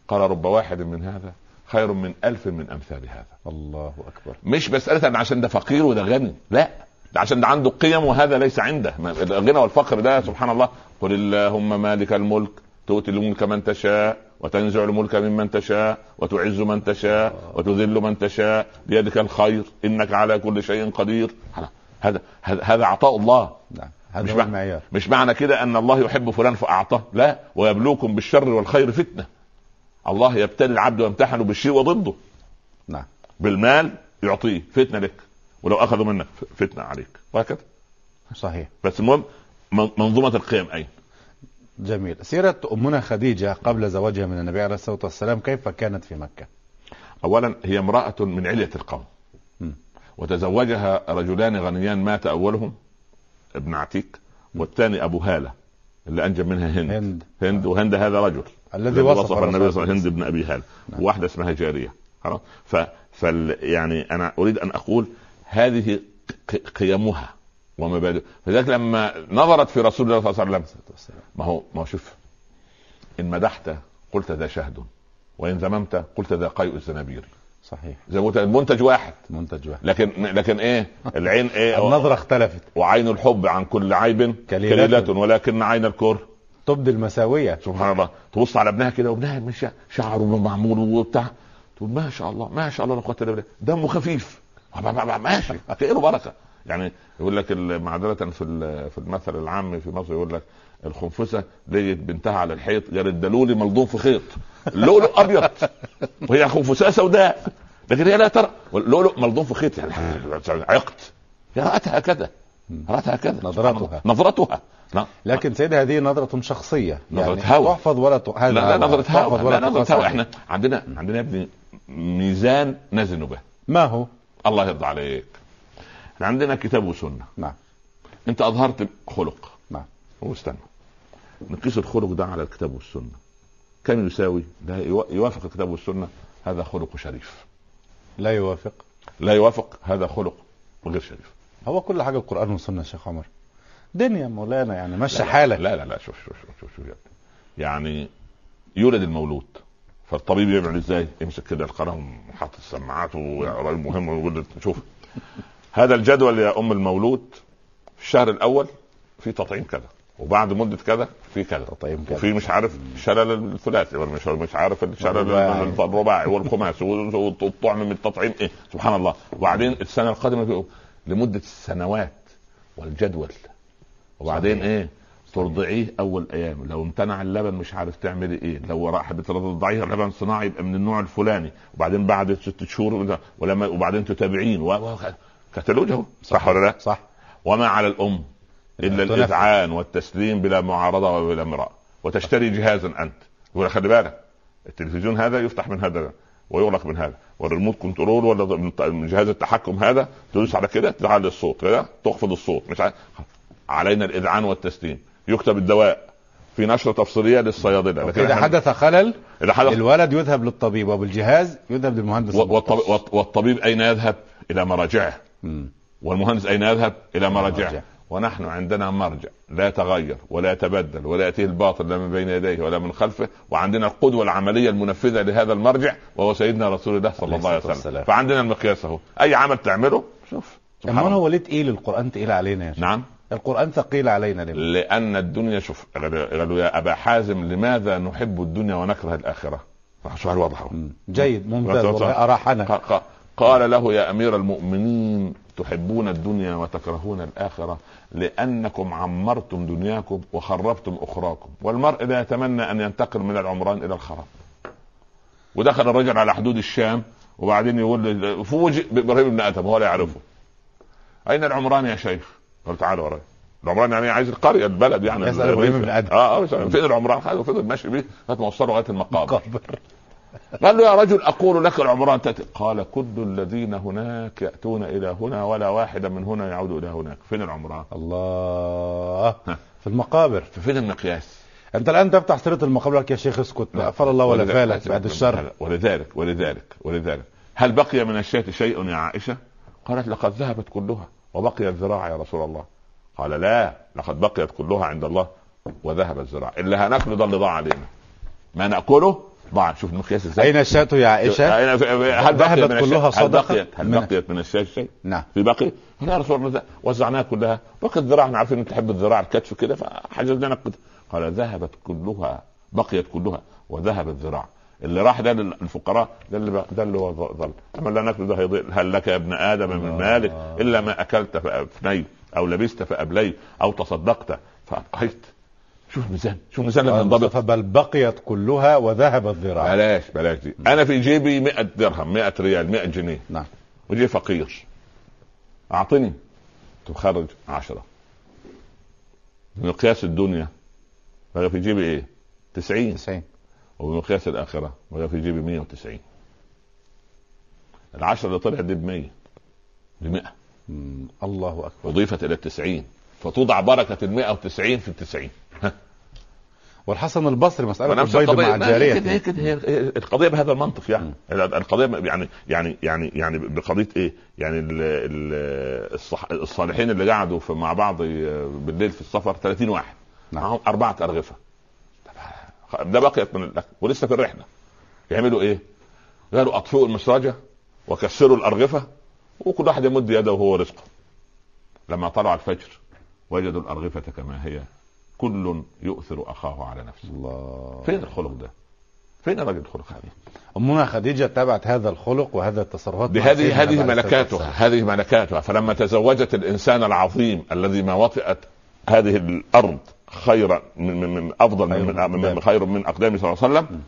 B: قال رب واحد من هذا خير من ألف من أمثال هذا
A: الله اكبر
B: مش مسألة أن عشان ده فقير وده غني لا ده عشان ده عنده قيم وهذا ليس عنده ما- الغنى والفقر ده سبحان الله قل اللهم مالك الملك تؤتي الملك من تشاء وتنزع الملك ممن تشاء وتعز من تشاء وتذل من تشاء بيدك الخير انك على كل شيء قدير هذا هذا هذا عطاء الله
A: نعم هذا
B: مش
A: هو
B: معنى-
A: المعيار
B: مش معنى كده ان الله يحب فلان فاعطاه لا ويبلوكم بالشر والخير فتنه الله يبتلي العبد ويمتحنه بالشيء وضده
A: نعم
B: بالمال يعطيه فتنه لك ولو اخذوا منك ف- فتنه عليك وهكذا
A: صحيح
B: بس المهم من- منظومه القيم اين
A: جميل سيرة أمنا خديجة قبل زواجها من النبي عليه الصلاة والسلام كيف كانت في مكة
B: اولا هي امراه من عليه القوم
A: م.
B: وتزوجها رجلان غنيان مات اولهم ابن عتيك والثاني ابو هاله اللي انجب منها هند
A: هند
B: هند وهند هذا رجل
A: الذي وصف
B: النبي صلى الله عليه
A: وسلم.
B: وسلم بن ابي هال
A: نعم.
B: وواحده اسمها جاريه خلاص ف... فال يعني انا اريد ان اقول هذه ق- قيمها ومبادئها فذلك لما نظرت في رسول الله صلى الله عليه وسلم ما هو ما هو شوف ان مدحت قلت ذا شهد وان ذممت قلت ذا قيء الزنابير
A: صحيح
B: زي ما قلت المنتج واحد
A: منتج واحد
B: لكن لكن ايه العين ايه
A: النظرة اختلفت
B: وعين الحب عن كل عيب
A: كليلة.
B: كليلة ولكن عين الكره
A: تبدي المساوية
B: سبحان الله تبص على ابنها كده وابنها مش شعره معمول وبتاع تقول ما شاء الله ما شاء الله لا قوه الا بالله دمه خفيف ما- ما- ما- ماشي كأنه بركه يعني يقول لك ال- معذره في ال- في المثل العام في مصر يقول لك الخنفسه لقيت بنتها على الحيط قالت الدلولي ملضوم في خيط اللؤلؤ ابيض وهي خنفسه سوداء لكن هي لا ترى اللؤلؤ ملضوم في خيط يعني عقد يعني هي رأت هكذا رأت هكذا
A: نظرتها.
B: نظرتها نعم. لا.
A: لكن سيدي هذه نظرة شخصية
B: نظرة
A: يعني
B: هوى.
A: تحفظ ولا ت... هذا
B: لا لا
A: هوى.
B: نظرة
A: تحفظ
B: هوى
A: ولا
B: لا نظرة
A: تحفظ.
B: هوى احنا عندنا عندنا يا ابني ميزان نزن به
A: ما هو
B: الله يرضى عليك احنا عندنا كتاب وسنة
A: نعم
B: انت اظهرت خلق
A: نعم.
B: هو استنى نقيس الخلق ده على الكتاب والسنة كم يساوي ده يوا- يوافق الكتاب والسنة هذا خلق شريف
A: لا يوافق
B: لا يوافق هذا خلق غير شريف
A: هو كل حاجة القرآن والسنة يا شيخ عمر دنيا مولانا يعني مشي
B: لا،
A: حالك
B: لا لا لا شوف شوف شوف شوف, شوف يا ابني. يعني يولد المولود فالطبيب يعمل ازاي؟ يمسك كده القلم وحاطط السماعات وراجل مهم ويقول له شوف هذا الجدول يا ام المولود في الشهر الاول في تطعيم كذا وبعد مده كذا في كذا
A: تطعيم كذا.
B: وفي مش عارف شلل الثلاثي ولا مش مش عارف الشلل
A: الرباعي.
B: الرباعي والخماسي والطعم من التطعيم ايه سبحان الله وبعدين السنه القادمه يقول لمده السنوات والجدول وبعدين
A: صحيح.
B: ايه ترضعيه اول ايام لو امتنع اللبن مش عارف تعملي ايه لو راح بترضعيه لبن صناعي يبقى من النوع الفلاني وبعدين بعد ست شهور ولما وبعدين تتابعين و... و... كتالوج اهو صح ولا لا؟
A: صح
B: وما على الام الا
A: تنفذ.
B: الاذعان والتسليم بلا معارضه وبلا امراه وتشتري جهازا انت يقول لك خلي بالك التلفزيون هذا يفتح من هذا ويغلق من هذا والريموت كنترول ولا من ط- من جهاز التحكم هذا تدوس على كده تعلي الصوت كده تخفض الصوت مش عارف. علينا الاذعان والتسليم يكتب الدواء في نشره تفصيليه للصيادله لكن
A: إذا
B: إحنا-
A: حدث خلل
B: إذا حدث
A: الولد يذهب للطبيب وبالجهاز يذهب للمهندس
B: و- والطب-
A: المختص.
B: والط- والطبيب اين يذهب؟ الى مراجعه
A: مم.
B: والمهندس اين يذهب؟ الى
A: مرجعه.
B: مرجعه ونحن عندنا مرجع لا يتغير ولا يتبدل ولا ياتيه الباطل لا من بين يديه ولا من خلفه وعندنا القدوه العمليه المنفذه لهذا المرجع وهو سيدنا رسول الله صلى
A: عليه
B: الله عليه
A: الصلاة
B: وسلم
A: والسلام.
B: فعندنا المقياس اهو اي عمل تعمله شوف سبحان
A: أما
B: الله.
A: هو ليه تقيل القرآن تقيل علينا يا شيخ
B: نعم
A: القرآن ثقيل علينا ليه
B: لان الدنيا شوف قالوا قالوا يا ابا حازم لماذا نحب الدنيا ونكره الاخره؟ سؤال واضح أهو.
A: مم. جيد ممتاز
B: رسول
A: والله
B: الله.
A: أراحنا
B: ق- ق- قال له يا امير المؤمنين تحبون الدنيا وتكرهون الاخره لانكم عمرتم دنياكم وخربتم اخراكم والمرء لا يتمنى ان ينتقل من العمران الى الخراب ودخل الرجل على حدود الشام وبعدين يقول ل- فوجئ بابراهيم بن ادم وهو لا يعرفه اين العمران يا شيخ؟ قال تعالى ورايا العمران يعني عايز القريه البلد يعني
A: يسأل إبراهيم بن آدم.
B: اه اه فين العمران؟ قال فضل ماشي بيه لغايه ما وصله لغايه المقابر قال له يا رجل اقول لك العمران تأتي قال كل الذين هناك ياتون الى هنا ولا واحدا من هنا يعود الى هناك فين العمران
A: الله في المقابر
B: فين المقياس
A: انت الان تفتح سيره المقابر لك يا شيخ اسكت
B: نعم.
A: لا فر الله ولا فالك بعد الشر
B: ولذلك ولذلك ولذلك هل بقي من الشاة شيء يا عائشة قالت لقد ذهبت كلها وبقي الذراع يا رسول الله قال لا لقد بقيت كلها عند الله وذهب الذراع اللي هناكله ده اللي ضاع علينا ما ناكله ضاع شوف المقياس ازاي
A: اين الشاة يا عائشه؟
B: أين- هل بقيت
A: ذهبت
B: من الشاة
A: كلها
B: هل
A: صدقة؟
B: بقيت هل
A: منها.
B: بقيت من الشاة شيء
A: نعم
B: في باقي قال يا رسول الله وزعناها كلها باقي الذراع احنا عارفين ان تحب الذراع الكتف كده فحجزنا لك قطع. قال ذهبت كلها بقيت كلها وذهب الذراع اللي راح ده للفقراء ده اللي بقى- ده اللي هو ظ- ظل اما اللي ناكله ده هيضيع هل لك يا ابن ادم من مالك الا ما اكلت فافنيت او لبست فابليت او تصدقت فابقيت شوف ميزان شوف ميزان
A: آه،
B: لما ينضبط
A: مصطفى بل بقيت كلها وذهب الذراع
B: بلاش بلاش دي انا في جيبي 100 درهم 100 ريال 100 جنيه
A: نعم
B: وجي فقير اعطني تخرج عشرة بمقياس الدنيا بقى في جيبي ايه 90
A: 90
B: وبمقياس الاخره بقى في جيبي 190 العشرة اللي طلعت دي ب 100 ب 100
A: مم، الله اكبر
B: اضيفت الى 90 فتوضع بركه ال 190 في ال 90
A: والحسن البصري مساله
B: ونفس
A: البيض
B: القضيه
A: مع
B: ما هي كده هي
A: جاريته
B: كده هي القضيه بهذا المنطق يعني القضيه يعني يعني يعني يعني بقضيه ايه؟ يعني ال ال الصح الصالحين اللي قعدوا في مع بعض بالليل في السفر 30 واحد
A: نعم.
B: معاهم اربعه ارغفه ده بقيت من الاكل ولسه في الرحله يعملوا ايه؟ قالوا اطفئوا المسراجه وكسروا الارغفه وكل واحد يمد يده وهو رزقه لما طلع الفجر وجدوا الارغفه كما هي كل يؤثر اخاه على نفسه
A: الله
B: فين الخلق ده؟ فين الراجل الخلق هذا؟
A: امنا خديجه اتبعت هذا الخلق وهذا التصرفات مع سيدنا
B: بهذه
A: عليه
B: هذه
A: الصلاة
B: ملكاتها
A: والسلام.
B: هذه ملكاتها فلما تزوجت الانسان العظيم الذي ما وطئت هذه الارض خيرا من, من, من افضل
A: خير من
B: من, من,
A: أقدامه.
B: من خير من اقدامه صلى الله عليه وسلم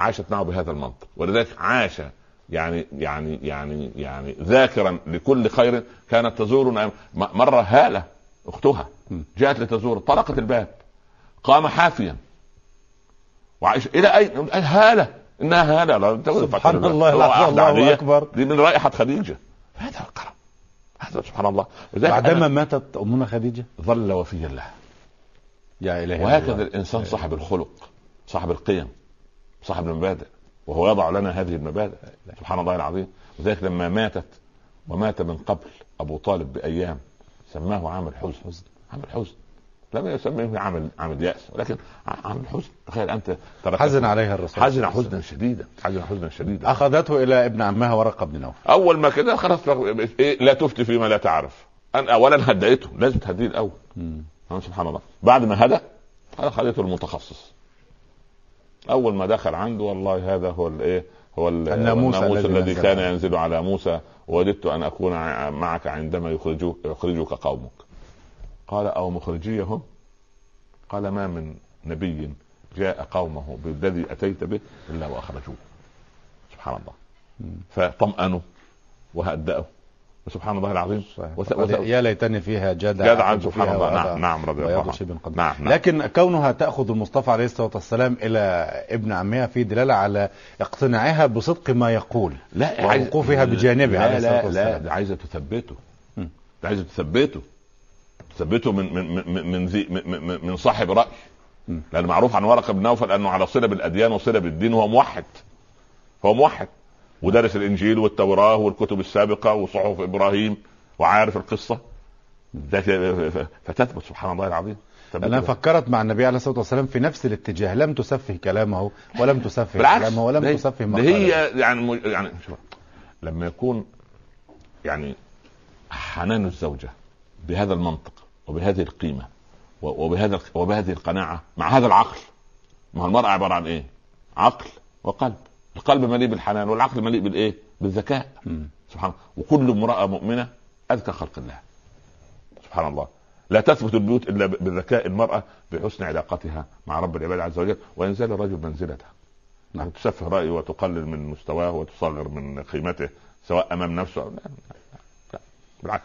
B: عاشت معه بهذا المنطق ولذلك عاش يعني يعني يعني يعني ذاكرا لكل خير كانت تزورنا م- مره هاله اختها
A: م.
B: جاءت لتزور طرقت الباب قام حافيا وعائشة الى اين؟ هاله انها هاله لا تقول
A: سبحان
B: فقط
A: الله،
B: هو
A: لحظة،
B: عهد
A: الله
B: عليا.
A: أكبر.
B: دي من رائحه خديجه هذا الكرم هذا سبحان الله لذلك
A: بعدما
B: أنا
A: ماتت امنا خديجه
B: ظل وفيا له
A: يا الهي
B: وهكذا
A: الله.
B: الانسان صاحب الخلق صاحب القيم صاحب المبادئ وهو يضع لنا هذه المبادئ سبحان الله العظيم لذلك لما ماتت ومات من قبل ابو طالب بايام سماه عام الحزن عام الحزن لم يسميه عام عام الياس ولكن عام الحزن تخيل انت تركته.
A: حزن آه. عليها الرسول
B: حزن حزنا شديدا حزن حزنا شديدا
A: اخذته الى ابن عمها ورقه بن نوف
B: اول ما كده خلاص بقى- إيه لا تفتي فيما لا تعرف انا اولا هديته لازم تهديه الاول آه، سبحان الله بعد ما هدى أنا خليته المتخصص اول ما دخل عنده والله هذا هو الايه هو ال-
A: الناموس
B: الناموس
A: الذي
B: الذي,
A: نزل
B: كان
A: عليه.
B: ينزل على موسى ووددت ان اكون ع- معك عندما يخرجوك يخرجك قومك قال او مخرجيهم قال ما من نبي جاء قومه بالذي اتيت به الا واخرجوه سبحان الله فطمأنوا وهدأوا وسبحان الله العظيم وث-
A: فقد
B: وث-
A: يا ليتني فيها جدع
B: جدعا سبحان الله نعم نعم رضي الله عنه
A: عنه
B: نعم نعم
A: لكن كونها تاخذ المصطفى عليه الصلاه والسلام الى ابن عمها في دلاله على اقتناعها بصدق ما يقول
B: لا
A: ووقوفها بجانبه عليه
B: لا
A: الصلاة
B: لا,
A: والسلام.
B: لا ده عايزه تثبته
A: مم.
B: ده عايزه تثبته تثبته من من من من, ذي من- من, من صاحب راي
A: مم.
B: لان معروف عن ورقه بن نوفل انه على صله بالاديان وصله بالدين وهو موحد هو موحد ودرس الانجيل والتوراه والكتب السابقه وصحف ابراهيم وعارف القصه ده ف- ف- فتثبت سبحان الله العظيم تثبت.
A: لأنها فكرت مع النبي عليه الصلاة والسلام في نفس الاتجاه لم تسفه كلامه ولم تسفه
B: بالعكس
A: كلامه ولم
B: ده-
A: تسفه
B: ده
A: مقاله
B: هي يعني مج- يعني شوف، لما يكون يعني حنان الزوجه بهذا المنطق وبهذه القيمه و- وبهذا وبهذه القناعه مع هذا العقل ما هو المراه عباره عن ايه؟ عقل وقلب القلب مليء بالحنان والعقل مليء بالايه؟ بالذكاء
A: مم.
B: سبحان الله وكل امراه مؤمنه اذكى خلق الله سبحان الله لا تثبت البيوت الا ب- بذكاء المراه بحسن علاقتها مع رب العباد عز وجل وينزل الرجل منزلته
A: نعم.
B: نعم. تسفه رايه وتقلل من مستواه وتصغر من قيمته سواء امام نفسه أو لا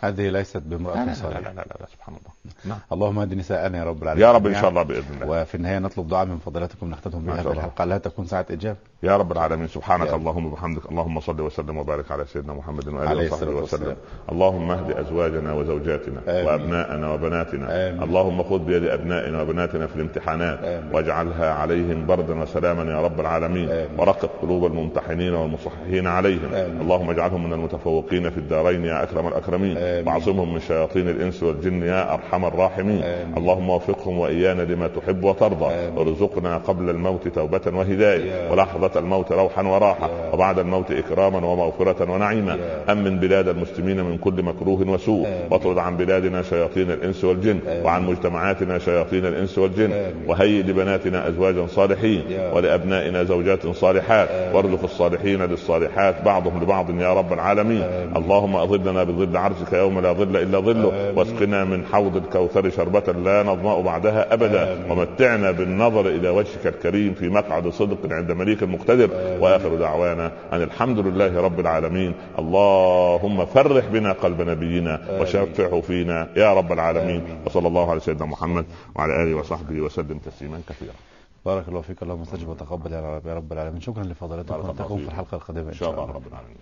A: هذه ليست بامرأة
B: لا لا, لا, لا,
A: صالحة
B: لا, لا, لا سبحان الله نعم.
A: اللهم اهد نساءنا يا رب العالمين
B: يا رب ان
A: جميعاً.
B: شاء الله باذن الله
A: وفي النهاية نطلب دعاء من فضلاتكم نختتم
B: ما
A: بها
B: شاء
A: هذه
B: الله.
A: الحلقة لا تكون ساعة إجابة
B: يا رب العالمين سبحانك
A: يا رب.
B: اللهم وبحمدك اللهم صل وسلم وبارك على سيدنا محمد
A: عليه
B: واله وصحبه
A: الصلاة والسلام.
B: وسلم اللهم اهد ازواجنا وزوجاتنا
A: آمين.
B: وابناءنا وبناتنا
A: آمين.
B: اللهم خذ بيد ابنائنا وبناتنا في الامتحانات
A: آمين.
B: واجعلها عليهم بردا وسلاما يا رب العالمين
A: آمين.
B: ورقق قلوب الممتحنين والمصححين عليهم
A: آمين.
B: اللهم اجعلهم من المتفوقين في الدارين يا اكرم الاكرمين امين
A: آمين.
B: واعصمهم من شياطين الانس والجن يا ارحم الراحمين
A: آمين.
B: اللهم وفقهم وايانا لما تحب وترضى
A: آمين.
B: وارزقنا قبل الموت توبه وهدايه
A: يا
B: ولحظه الموت روحا وراحه
A: يا
B: وبعد الموت اكراما ومغفره ونعيما
A: يا
B: امن بلاد المسلمين من كل مكروه وسوء
A: آمين.
B: واطرد عن بلادنا شياطين الانس والجن
A: آمين.
B: وعن مجتمعاتنا شياطين الانس والجن
A: آمين.
B: وهيئ لبناتنا ازواجا صالحين
A: يا
B: ولابنائنا زوجات صالحات
A: آمين.
B: وارزق الصالحين للصالحات بعضهم لبعض يا رب العالمين
A: آمين.
B: اللهم اظلنا بظل عرشك يوم لا ظل الا ظله
A: آمين.
B: واسقنا من حوض الكوثر شربة لا نظمأ بعدها ابدا
A: آمين.
B: ومتعنا بالنظر الى وجهك الكريم في مقعد صدق عند مليك مقتدر
A: آمين.
B: واخر دعوانا ان الحمد لله رب العالمين اللهم فرح بنا قلب نبينا
A: آمين.
B: وشفعه فينا يا رب العالمين
A: آمين.
B: وصلى الله على سيدنا محمد وعلى اله وصحبه وسلم تسليما كثيرا
A: بارك الله فيك اللهم استجب وتقبل يا رب يا رب العالمين شكرا لفضلاتكم
B: بارك الله
A: ونلتقيكم
B: فيك.
A: في الحلقه القادمه
B: ان شاء الله رب العالمين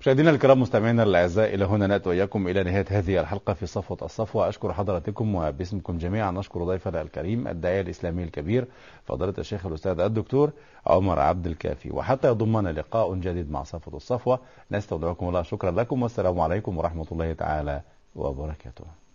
A: مشاهدينا الكرام مستمعينا الاعزاء الى هنا ناتي واياكم الى نهايه هذه الحلقه في صفوه الصفوه اشكر حضراتكم وباسمكم جميعا اشكر ضيفنا الكريم الداعيه الاسلامي الكبير فضيله الشيخ الاستاذ الدكتور عمر عبد الكافي وحتى يضمنا لقاء جديد مع صفوه الصفوه نستودعكم الله شكرا لكم والسلام عليكم ورحمه الله تعالى وبركاته